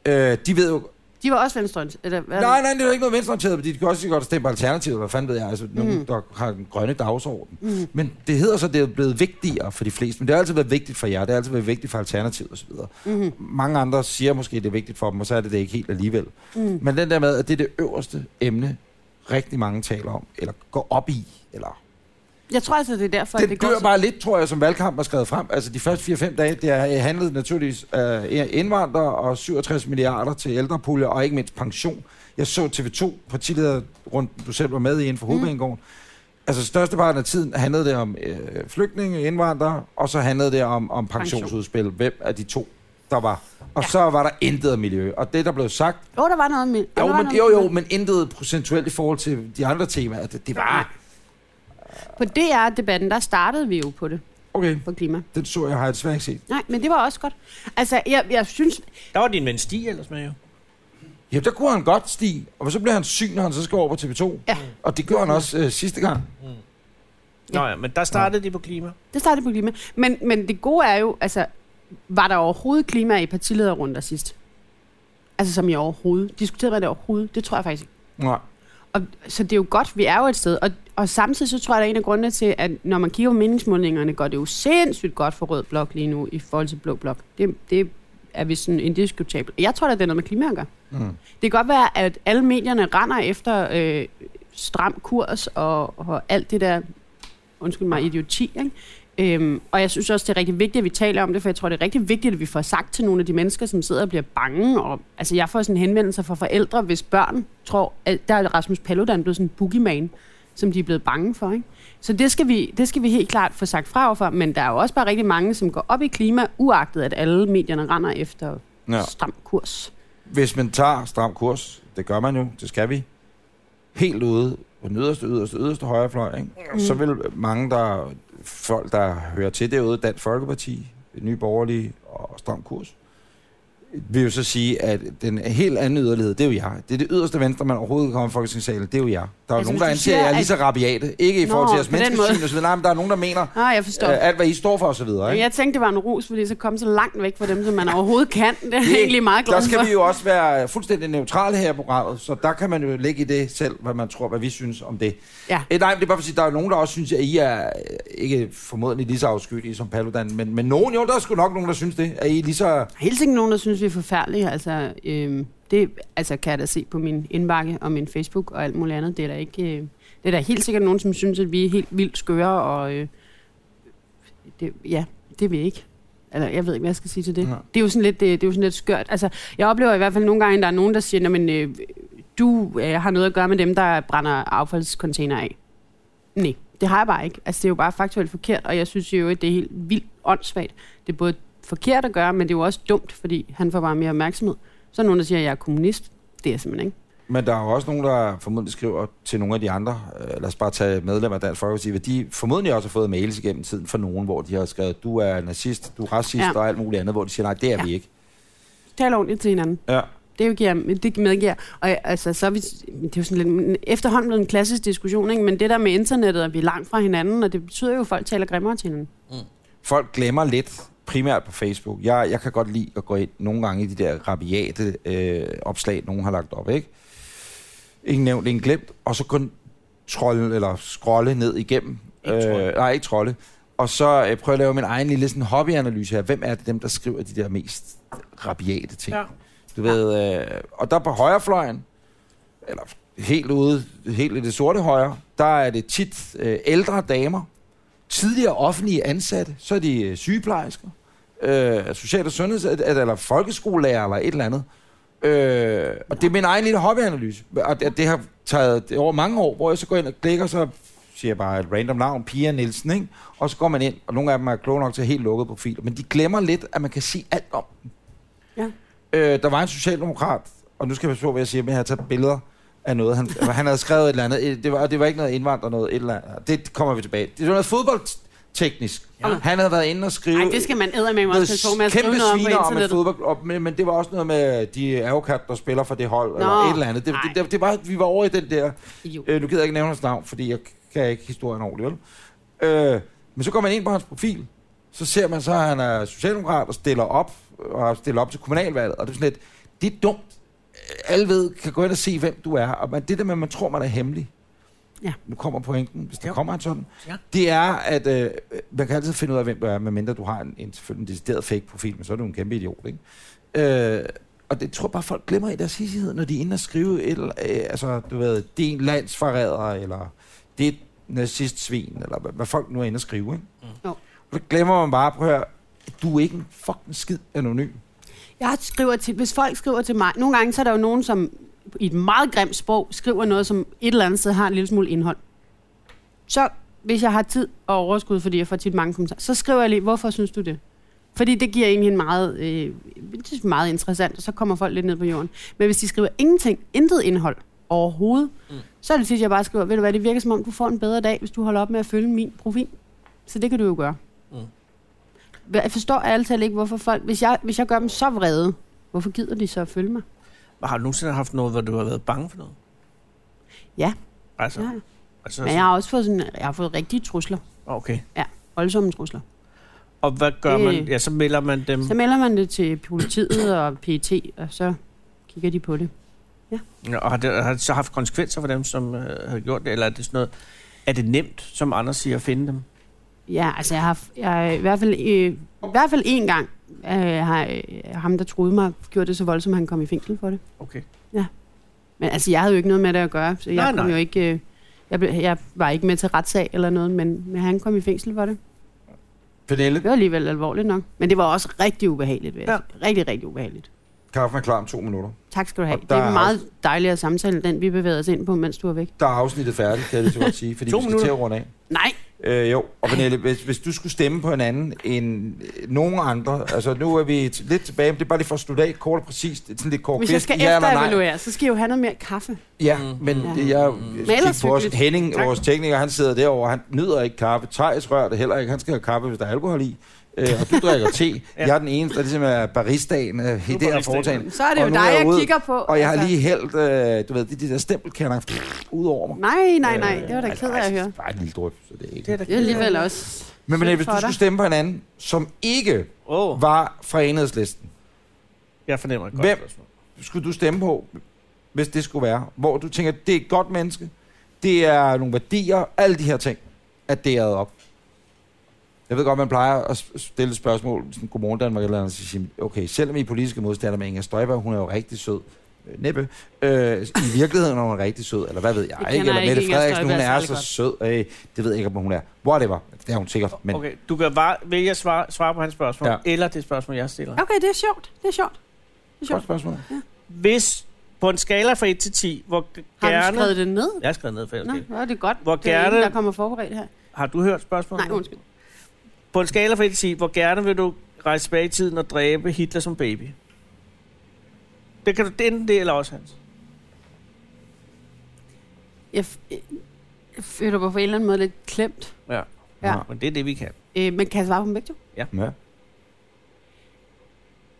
Ja. Øh, de ved jo...
De var også venstre, eller hvad?
Nej, nej, det er jo ikke noget venstreorienteret, fordi de kan også lige godt stemme på Alternativet, hvad fanden ved jeg, altså mm. nogen, der har den grønne dagsorden. Mm. Men det hedder så, at det er blevet vigtigere for de fleste, men det har altid været vigtigt for jer, det har altid været vigtigt for Alternativet osv. Mm. Mange andre siger måske, at det er vigtigt for dem, og så er det det ikke helt alligevel. Mm. Men den der med, at det er det øverste emne, rigtig mange taler om, eller går op i, eller
Jeg tror altså, det er derfor,
den
det
dør
går så...
bare lidt, tror jeg, som valgkampen er skrevet frem. Altså de første 4-5 dage, det har handlet naturligvis øh, indvandrere og 67 milliarder til ældrepuljer, og ikke mindst pension. Jeg så TV2, partileder rundt, du selv var med i
Mm.
inden for Hovedbanegården. Altså størsteparten af tiden handlede det om øh, flygtninge, indvandrere, og så handlede det om, om pensionsudspil. Hvem af de to, der var. Og
Ja.
så var der intet om miljø. Og det, der blev sagt,
Jo, der var noget med... der
jo,
var
men,
noget
jo,
med-
jo, men intet procentuelt i forhold til de andre temaer. Det, det var...
På DR-debatten, der startede vi jo på det,
Okay,
på klima.
den så jeg, har jeg desværre ikke set.
Nej, men det var også godt. Altså, jeg, jeg synes...
Der var din ven Stig ellers med, jo.
Ja, der kunne han godt stige, og så blev han syg, når han så skal over på TV2.
Ja.
Og det gjorde han også øh, sidste gang.
Nå ja, men der startede de på klima.
Det startede på klima. Men, men det gode er jo, altså, var der overhovedet klima i partilederrunder sidst? Altså, som i overhovedet. Diskuterede man det overhovedet? Det tror jeg faktisk ikke.
Nej.
Og, så det er jo godt, vi er jo et sted. Og, og samtidig så tror jeg, der er en af grundene til, at når man kigger på meningsmålingerne, går det jo sindssygt godt for Rød Blok lige nu i forhold til Blå Blok. Det, det er vi sådan indiskutabelt. Jeg tror da, det er noget med klima at gøre.
Mm.
Det kan godt være, at alle medierne render efter øh, stram kurs og, og alt det der, undskyld mig, idioti, ikke? Øhm, og jeg synes også, det er rigtig vigtigt, at vi taler om det, for jeg tror, det er rigtig vigtigt, at vi får sagt til nogle af de mennesker, som sidder og bliver bange. Og, altså, jeg får sådan henvendelser fra forældre, hvis børn tror, at der er Rasmus Paludan blevet sådan en boogeyman, som de er blevet bange for. Ikke? Så det skal, vi, det skal vi helt klart få sagt fra overfor, men der er jo også bare rigtig mange, som går op i klima, uagtet at alle medierne render efter
Ja.
ja. stram kurs.
Hvis man tager stram kurs, det gør man jo, det skal vi, helt ude på den yderste, yderste, yderste højrefløj, ikke? Mm. så vil mange, der, folk, der hører til derude, Dansk Folkeparti, Nye Borgerlige og Stram Kurs, vil jo så sige, at den helt anden yderlighed, det er jo jeg. Det er det yderste venstre, man overhovedet kommer i Folketingssalen, det er jo jeg. Der er altså,
Altså,
nogen,
hvis
der anser, at
du siger,
jeg er lige
at-
så rabiate. Ikke i
Nå,
forhold til jeres
på den måde.
menneskesyn og så videre. Nej, men der er nogen, der mener,
Ah, jeg forstår.
Øh, alt, hvad I står for, og så videre.
Men
Ikke?
jeg tænkte, det var en rus, fordi så kom så langt væk fra dem, som man overhovedet kan. Det er jeg egentlig meget glad
der skal
for.
vi jo også være fuldstændig neutrale her i programmet, så der kan man jo lægge i det selv, hvad man tror, hvad vi synes om det.
Ja.
Eh, nej, men det er bare for at sige, der er jo nogen, der også synes, at I er øh, ikke formodentlig lige så afskyelige som Paludan, men, men nogen, jo, der er sgu nok nogen, der synes det, at I er lige så...
Der er Helt sikkert nogen, der synes, vi er forfærdelige. Altså, øhm, det altså, kan jeg da se på min indbakke og min Facebook og alt muligt andet. Det er der, ikke, øh, det er der helt sikkert nogen, som synes, at vi er helt vildt skøre. Og, øh, det, ja, det er vi ikke. Eller, jeg ved ikke, hvad jeg skal sige til det.
Nej.
Det er jo sådan lidt, det, det er jo sådan lidt skørt. Altså, jeg oplever i hvert fald nogle gange, at der er nogen, der siger, "Nå, men øh, du øh, har noget at gøre med dem, der brænder affaldscontainer af. Nej, det har jeg bare ikke. Altså, det er jo bare faktuelt forkert, og jeg synes jo, at det er helt vildt åndssvagt. Det er både forkert at gøre, men det er jo også dumt, fordi han får bare mere opmærksomhed. Så er nogen, der siger, at jeg er kommunist. Det er jeg simpelthen ikke.
Men der er jo også nogen, der formodentlig skriver til nogle af de andre, øh, lad os bare tage medlemmer af Dansk Folkeparti, hvad de formodentlig også har fået mails igennem tiden fra nogen, hvor de har skrevet, du er nazist, du er racist ja.
Ja.
og alt muligt andet, hvor de siger, nej, det er ja.
Ja.
vi ikke.
Tal ordentligt til hinanden.
Ja.
Det, giver, det medgiver. Og jeg- altså, så er vi, det er jo sådan lidt, efterhånden blevet en klassisk diskussion, ikke? men det der med internettet, at vi er langt fra hinanden, og det betyder jo, at folk taler grimmere til hinanden.
Folk glemmer lidt, primært på Facebook. Jeg, jeg kan godt lide at gå ind nogle gange i de der rabiate øh, opslag, nogen har lagt op, ikke? Ingen nævnt, ingen glemt. Og så kun trolle, eller scrolle ned igennem.
Ikke trolle.
Øh, nej, ikke trolle. Og så øh, prøve at lave min egen lille sådan, hobbyanalyse her. Hvem er det dem, der skriver de der mest rabiate ting?
Ja.
Du ved, øh, og der på højrefløjen, eller helt ude, helt i det sorte højre, der er det tit øh, ældre damer, tidligere offentlige ansatte, så er de øh, sygeplejersker, øh, social- og sundheds- eller eller folkeskolelærer eller et eller andet. Øh, og det er min egen lille hobbyanalyse, og det, det har taget over mange år, hvor jeg så går ind og klikker, så siger jeg bare et random navn, Pia Nielsen, ikke? og så går man ind, og nogle af dem er kloge nok til helt lukkede profiler, men de glemmer lidt, at man kan se alt om
Ja.
Øh, der var en socialdemokrat, og nu skal jeg passe på, hvad jeg siger, men jeg har taget billeder af noget. Han, han havde skrevet et eller andet. Øh, Det var, det var ikke noget indvandrer noget. Et eller andet. Det kommer vi tilbage. Det var noget fodboldteknisk. Ja. Han havde været inde og skrive...
Nej, det skal man eddermame også passe på med at skrive
kæmpe
noget om på
sviner om et
internettet.
fodbold, op, men, men det var også noget med de avokat, der spiller for det hold, Nå, eller
Nå,
et eller andet. Det, det,
nej.
det, det var, vi var over i den der...
Idiot.
Øh, nu gider jeg ikke nævne hans navn, fordi jeg kan ikke historien ordentligt, vel? Øh, men så går man ind på hans profil, så ser man så, at han er socialdemokrat og stiller op, og stiller op til kommunalvalget, og det er sådan lidt, det er dumt. Alle ved, kan gå ind og se, hvem du er, og man, det der med, at man tror, man er hemmelig,
Ja.
nu kommer pointen, hvis der
Jo.
kommer en sådan,
Ja.
det er, at øh, man kan altid finde ud af, hvem du er, medmindre du har en, en, selvfølgelig en decideret fake-profil, men så er du en kæmpe idiot, ikke? Øh, og det tror jeg bare, folk glemmer i deres hissighed, når de er inde og skrive, et, eller- øh, altså, du ved, din landsforræder, eller det er et nazistsvin, eller hvad, hvad folk nu er inde og skrive, ikke?
Jo.
Og så glemmer man bare, prøv at høre, du er ikke en fucking skid anonym.
Jeg skriver til, hvis folk skriver til mig, nogle gange så er der jo nogen, som i et meget grimt sprog skriver noget, som et eller andet sted har en lille smule indhold. Så hvis jeg har tid og overskud, fordi jeg får tit mange kommentarer, så skriver jeg lige, hvorfor synes du det? Fordi det giver egentlig en meget, øh, det synes jeg er meget interessant, og så kommer folk lidt ned på jorden. Men hvis de skriver ingenting, intet indhold overhovedet, mm. så er det tit, jeg bare skriver, ved du hvad, det virker som om, du får en bedre dag, hvis du holder op med at følge min profil. Så det kan du jo gøre. Hva- Jeg forstår ærligt talt ikke, hvorfor folk... Hvis jeg, hvis jeg gør dem så vrede, hvorfor gider de så at følge mig?
Har du nogensinde haft noget, hvor du har været bange for noget?
Ja.
Altså,
Ja.
altså
Men jeg har også fået, sådan, jeg har fået rigtige trusler.
okay.
Voldsomme trusler.
Og hvad gør
Det-
man? Ja, så melder man dem.
Så melder man det til politiet og PET, og så kigger de på det.
Ja, Og har det, har det så haft konsekvenser for dem, som øh, har gjort det? Eller er det sådan noget, er det nemt, som Anders siger, at finde dem?
Ja, altså jeg har, jeg har i hvert fald, øh, i hvert fald én gang, øh, har øh, ham, der troede mig, gjort det så voldsomt, at han kom i fængsel for det.
Okay.
Men altså, jeg havde jo ikke noget med det at gøre, så jeg
Nej,
nej, kom
nej.
jo ikke... Øh, jeg, blev, jeg var ikke med til retssag eller noget, men, men han kom i fængsel for det.
Pernille,
Det var alligevel alvorligt nok. Men det var også rigtig ubehageligt, vil jeg
Ja.
sige. Rigtig, rigtig ubehageligt.
kaffen er klar om to minutter.
Tak skal du have.
Og
Det
der
er
er
en meget dejligere samtale, den vi bevæger os ind på, mens du er væk.
Der er afsnittet færdigt, kan jeg lige så godt sige, fordi
To
vi skal
minutter.
til at runde af.
Nej,
Øh, jo, og Pernille, hvis, hvis du skulle stemme på en anden end øh, nogen andre, altså nu er vi t- lidt tilbage, men det er bare lige for at slutte af kort og præcist, Det er sådan lidt kort
hvis jeg
kvist,
skal
ja eller nej.
efterevaluere, så skal jeg jo have noget mere kaffe.
Ja,
Mm.
men
Ja.
det- jeg, jeg kigger
ellers
på os,
hyggeligt.
Henning, tak.
Tak.
vores tekniker, han sidder derovre, han nyder ikke kaffe, Thijs rører det heller ikke, han skal have kaffe, hvis der er alkohol i, øh, og du drikker te. ja. Jeg er den eneste, der ligesom er baristaen øh, i det her
baristaen.
foretagende.
Så er det
Og
jo
nu
dig,
er jeg
jeg
ude,
kigger på. altså.
Og jeg har lige hældt, øh, du ved, de, de der stempelkerner ud over mig.
Nej, nej, nej.
Øh,
Det var da
altså,
ked af at
altså,
høre.
Bare en lille dryp, så det er ikke...
Det er da
Det er alligevel også.
Men, men
Synd
hvis
for
du
dig.
skulle stemme på en anden, som ikke
Åh,
var fra enhedslisten,
jeg fornemmer et godt
Hvem?
spørgsmål.
skulle du stemme på, hvis det skulle være, hvor du tænker, det er et godt menneske, det er nogle værdier, alle de her ting, at det er addet op. Jeg ved godt, man plejer at s- stille et spørgsmål, sådan, godmorgen Danmark eller andet, og så siger, man, okay, selvom I er politiske modstandere med Inger Støjberg, hun er jo rigtig sød, øh, næppe, øh, i virkeligheden er hun rigtig sød, eller hvad ved jeg,
kender
ikke, eller
ikke
Mette
Inger
Frederiksen, hun
Støjberg
er
særlig
så
godt.
sød, øh, det ved jeg ikke, om hun er, whatever, det er hun sikkert, men
Okay, du kan var, vælge at svare, svare på hans spørgsmål,
Ja.
ja. eller det spørgsmål, jeg stiller. Ja.
Okay, det er sjovt. Det er sjovt.
godt spørgsmål.
Hvis på en skala fra 1 til 10, hvor
Har
gerne...
du skrevet det ned?
Jeg har skrevet ned, for jeg
Nå,
okay.
hvor er det godt.
Hvor
det er en,
gerne-
der kommer forberedt her.
Har du hørt spørgsmålet?
Nej, undskyld.
På en skala fra 1 til 10, hvor gerne vil du rejse tilbage i tiden og dræbe Hitler som baby? Det kan du det er enten det eller også, Hans.
Jeg, f- jeg føler mig på en eller anden måde lidt klemt.
Ja.
Ja.
Nå.
Men det er det, vi kan.
Øh, men kan jeg svare på dem begge to?
Ja.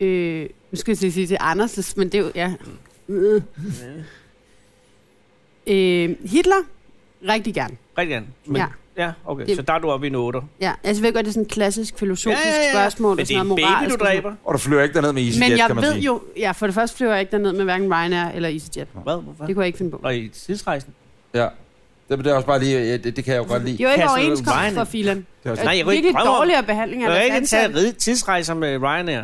Øh, nu skal jeg til at sige til Anders, men det er jo... Ja. Øh. Øh, Hitler? Rigtig gerne.
Rigtig gerne. Men,
Ja.
ja. okay.
Det-
Så der er du oppe i en 8.
Ja, altså jeg ved godt, det er sådan et klassisk filosofisk ja, ja, ja. spørgsmål.
Men
og
det
sådan
er en
noget
baby,
moralsk og
du
sådan
dræber.
Og du flyver ikke derned med EasyJet,
Men jeg
kan man
ved
sige.
jo, ja, for det første flyver jeg ikke derned med hverken Ryanair eller EasyJet.
Hvad? Hvorfor?
Det kunne jeg ikke finde på.
Og i tidsrejsen?
Ja. Det, det er også bare lige, ja, det, det kan jeg jo godt lide.
Det er jo ikke
Kaster du
overenskomst
Ryanair?
for filen.
Det er også-
Nej, jeg kunne ikke
Virkelig
drømme om-
dårligere behandling af
Jeg kan
deres
ikke tage
ansatte.
ride tidsrejser med Ryanair.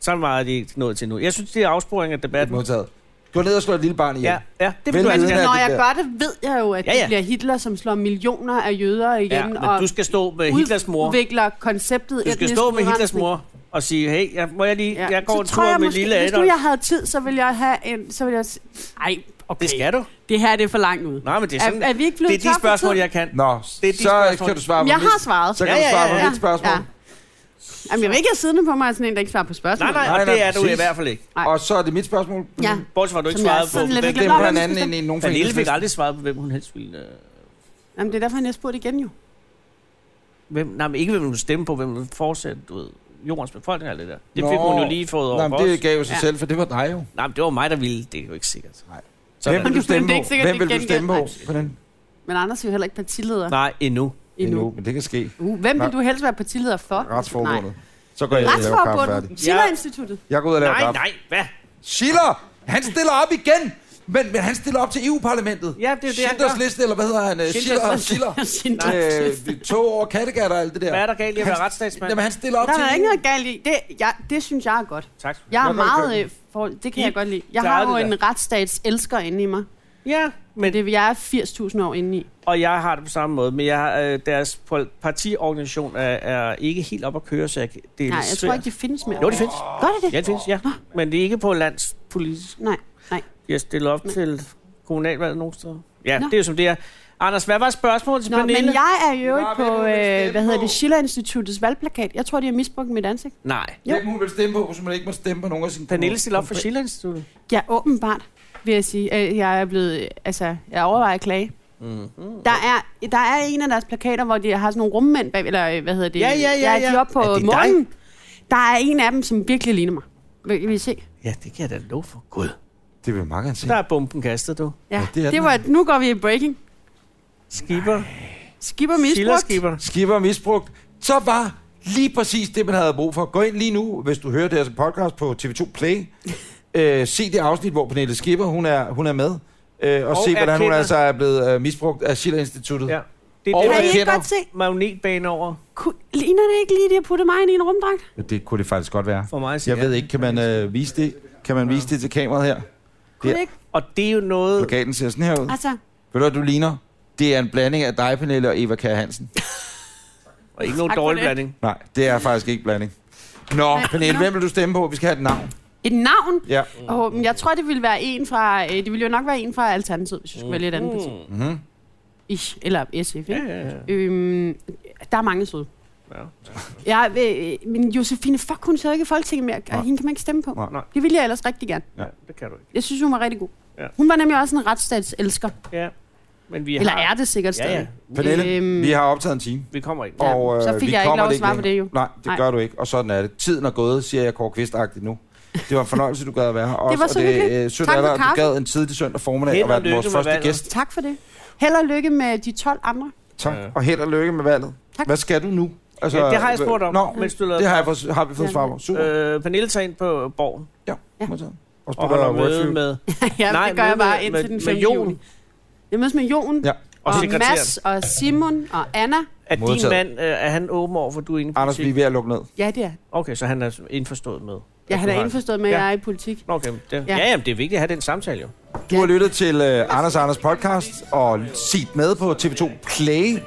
Sådan meget er de ikke nået til nu. Jeg synes, det er afsporing af
Det er
debatten.
modtaget. Gå ned og slå et lille barn ihjel.
Ja, ja, det vil
Vel
du altid
vidende,
gerne.
at-
Når
det
jeg
der.
gør det, ved jeg jo, at
Ja,
ja,
ja.
det bliver Hitler, som slår millioner af jøder
Ja,
igen,
men
og
du skal stå med Hitlers mor.
udvikler konceptet
Du skal
etnisk
stå med Hitlers
udrensning.
mor og sige, hey, jeg, må jeg lige, jeg går
så
en
tror
tur
jeg
med
måske-
lille
Hvis nu
Adolf.
jeg havde tid, så ville jeg have en... Så ville jeg... s- Ej, okay.
Det skal du.
Det her det er for langt ud.
Nej, men det er sådan,
er, er vi ikke
det
blevet
er de
tør for
spørgsmål,
tid?
jeg kan.
Nå,
Det er de
så
spørgsmål.
kan du svare på
Jamen, jeg
mit.
har svaret.
Så kan
Ja,
du
ja,
svare
ja,
på
ja.
mit spørgsmål.
Jamen, jeg vil ikke have siddende på mig sådan en, der ikke svarer på spørgsmål.
Nej, nej,
Nej,
og
nej,
det er du i
præcis.
hvert fald ikke.
nej.
Og så er det mit spørgsmål.
Ja.
Bortset fra, at du ikke
Som jeg
svarede
er
på,
sådan lidt
hvem
Det
Nå,
er
hvem
blandt
skal
andet
stemme?
en, en nogen
Pernille fik
fik
aldrig svaret på, hvem hun helst ville... Øh,
Jamen, det er derfor, han har spurgt igen jo. hvem-
hvem, nej, men ikke hvem hun ville stemme på, hvem hun ville fortsætte, du ved, jordens befolkning og alt det der. Det
Nå.
fik hun jo lige fået over
Nej,
for
men
os.
det gav jo sig
Ja.
selv, for det var dig jo.
Nej, men det var mig, der ville. Det er jo ikke sikkert.
Nej.
Sådan.
Hvem vil du stemme
det
på?
er ikke sikkert,
Hvem
det
vil du
gengæld-
stemme på?
Nej.
På den?
Men Anders er jo heller ikke partileder
Nej, endnu.
endnu.
Endnu, men det kan ske.
Uh, hvem vil
Nå.
du helst være partileder for?
Retsforbundet.
Nej.
Så går jeg ud og laver kaffe færdig.
Retsforbundet. Schiller-instituttet.
Jeg går ud og laver
Nej,
kaffe.
nej, hvad?
Schiller! Han stiller op igen! Men, men han stiller op til EU-parlamentet.
Ja, det er jo det, han
Schindlers
gør.
liste, eller hvad hedder han? Øh, Schiller,
Schindlers-
Schiller.
Schindler.
Øh, tog over Kattegat og alt det der.
Hvad er der galt i at
Han-
være retsstatsmand?
Jamen, han stiller op
Der
til E
er ikke
EU.
noget galt i. Det, jeg, det synes jeg er godt.
Tak.
Jeg er
Hvad var det
meget...
galt?
øh, For, det kan
I
jeg godt lide. Jeg
klarede
har jo
det
en retsstats elsker inde i mig.
Ja, men,
Det, jeg er 80.000 år inde i.
og jeg har det på samme måde, men jeg, har, øh, deres pol- partiorganisation er, er ikke helt op at køre, så jeg, kan- det er
Nej, jeg
svært.
tror ikke, de findes mere.
Jo, det findes.
Gør det det?
Ja, det findes, ja. Men det er ikke på landspolitisk.
Nej, nej.
Jeg stiller op til kommunalvalget nogle steder. Ja,
Nå.
det er jo som det er. Anders, hvad var spørgsmålet til
Nå,
Pernille?
men jeg er jo
Nå,
ikke
hvem
på,
vil du stemme
øh, hvad hedder
på?
det, Schiller-instituttets valgplakat. Jeg tror, de har misbrugt mit ansigt.
Nej.
Jo.
Hvem hun vil stemme på, hvis man ikke må stemme på nogen af sine
Pernille stiller op for Schiller Instituttet.
Ja, åbenbart, vil jeg sige. Øh, Jeg er blevet, øh, altså, jeg overvejer at klage.
Mhm.
Mm. Der, er, der er en af deres plakater, hvor de har sådan nogle rummænd bag, eller øh, hvad hedder det?
Ja, ja, ja,
Jeg er
ja.
de oppe på
Er det dig?
morgenen. Der er en af dem, som virkelig ligner mig. Vil, vil I se?
Ja, det kan jeg da love for. Gud.
Det vil Mark se.
Der er bomben kastet, du.
Ja,
Ja,
ja
det er
det,
den
det var, nu går vi i breaking.
Skipper.
Skipper
Schiller
misbrugt.
skipper.
Skipper misbrugt. Så var lige præcis det, man havde brug for. Gå ind lige nu, hvis du hører det her som podcast på TV2 Play. øh, se det afsnit, hvor Pernille Skipper, hun er, hun er med. Øh, og, og
Og
se, hvordan hun
erkender-
altså er blevet øh, misbrugt af Schiller Instituttet.
Ja. Det
Og
er
Kan I
det,
erkender-
ikke godt se?
der magnetbane over
Ku- Ligner det ikke lige, at de har puttet mig ind i en rumdragt?
Det kunne det faktisk godt være.
for mig. at sige
Jeg ved
ja.
ikke, kan man øh, vise det? Kan man vise det til kameraet her?
Kunne
Ja.
det ikke?
Og det er jo noget...
Plakaten ser sådan her ud.
Altså,
Ved du, hvad du ligner? Det er en blanding af dig, Pernille, og Eva Kjær Hansen.
Og ikke nogen
Tak for
dårlig
det.
blanding.
Nej, det er faktisk ikke blanding. Nå,
Nej,
Pernille,
nå.
hvem vil du stemme på? Vi skal have et navn.
et navn?
Ja.
Mm.
Oh, men jeg tror, det ville være en fra... Øh, det ville jo nok være en fra Alternativet, hvis jeg skulle vælge Mm. et andet parti.
Mm-hmm.
Ish, eller SF, ikke?
Mm. Ja, ja, ja.
Øhm, der er mange søde.
Ja.
Jeg, øh, men Josefine, fuck, hun sidder ikke i Folketinget mere,
Nej.
og hende kan man ikke stemme på.
Nej.
Nej.
Det ville jeg ellers rigtig gerne.
ja, det kan du ikke.
Jeg synes, hun var rigtig god.
Ja.
Hun var nemlig også en retsstatselsker.
Ja. Men vi
Ja. Eller
har...
er det sikkert
Ja,
stadig.
ja.
Pernille, øhm.
Øhm.
vi har optaget en time.
Vi kommer ikke.
Ja,
Og,
så
øh,
fik
vi
jeg ikke
kommer
lov at
det
svare på
længere.
det, jo.
Nej, det Nej.
Nej.
gør du ikke, og sådan er det. Tiden er gået, siger jeg Kåre Kvistagtigt nu. Det var en fornøjelse, du gad at være her. Også,
var så
og det
hyggeligt.
øh, sødt
Tak
af
for
dig, at du
kaffe.
gad en tidlig søndag formiddag
Held
at
og
være
lykke
vores
med
første
valget.
gæst.
Tak for det. Held og lykke med de 12 andre.
Tak,
Ja.
og held og lykke med valget.
Tak.
Hvad skal du nu? Altså,
Ja, det har jeg spurgt om,
Nå,
mens du lavede...
det har, jeg fået, har vi fået
Ja.
svar på. Super.
Øh, Pernille tager ind på borgen
ja,
ja.
modtaget. Og
og
spiller
holder møde
Redfield.
med...
ja,
Nej,
det gør
møde
jeg bare
med-
indtil
med-
den
med
5.
Jon.
juni. Jeg mødes med Jon,
Ja.
Og
og,
sekretæren.
Mads, og Simon, og Anna.
Er din
Modtaget.
mand, øh, er han åben over for, at du er inde i
Anders, vi er
politik?
ved at lukke ned.
Ja, det er.
Okay, så han er indforstået med...
Jeg
at
har
du
da
har-
indforstået med, at
Ja.
jeg er i politik.
Nå, Okay, det, ja.
Ja.
ja, jamen, det er vigtigt at have den samtale jo.
Du har lyttet til uh, Anders Anders podcast og set med på TV2 Play.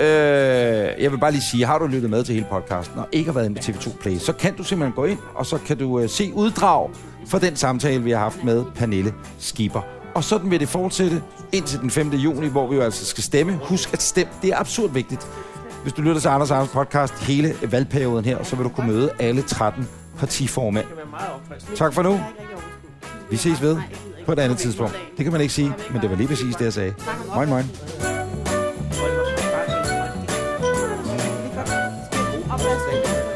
Øh, jeg vil bare lige sige, har du lyttet med til hele podcasten og ikke har været inde på TV2 Play, så kan du simpelthen gå ind, og så kan du øh, se uddrag fra den samtale, vi har haft med Pernille Skipper. Og sådan vil det fortsætte indtil den 5. juni, hvor vi jo altså skal stemme. Husk at stemme. Det er absurd vigtigt. Hvis du lytter til Anders Anders podcast hele valgperioden her, så vil du kunne møde alle 13 partiformænd. Tak for nu. Vi ses ved på et andet tidspunkt. Det kan man ikke sige, men det var lige præcis det, jeg sagde. Moin, moin.
Opvask.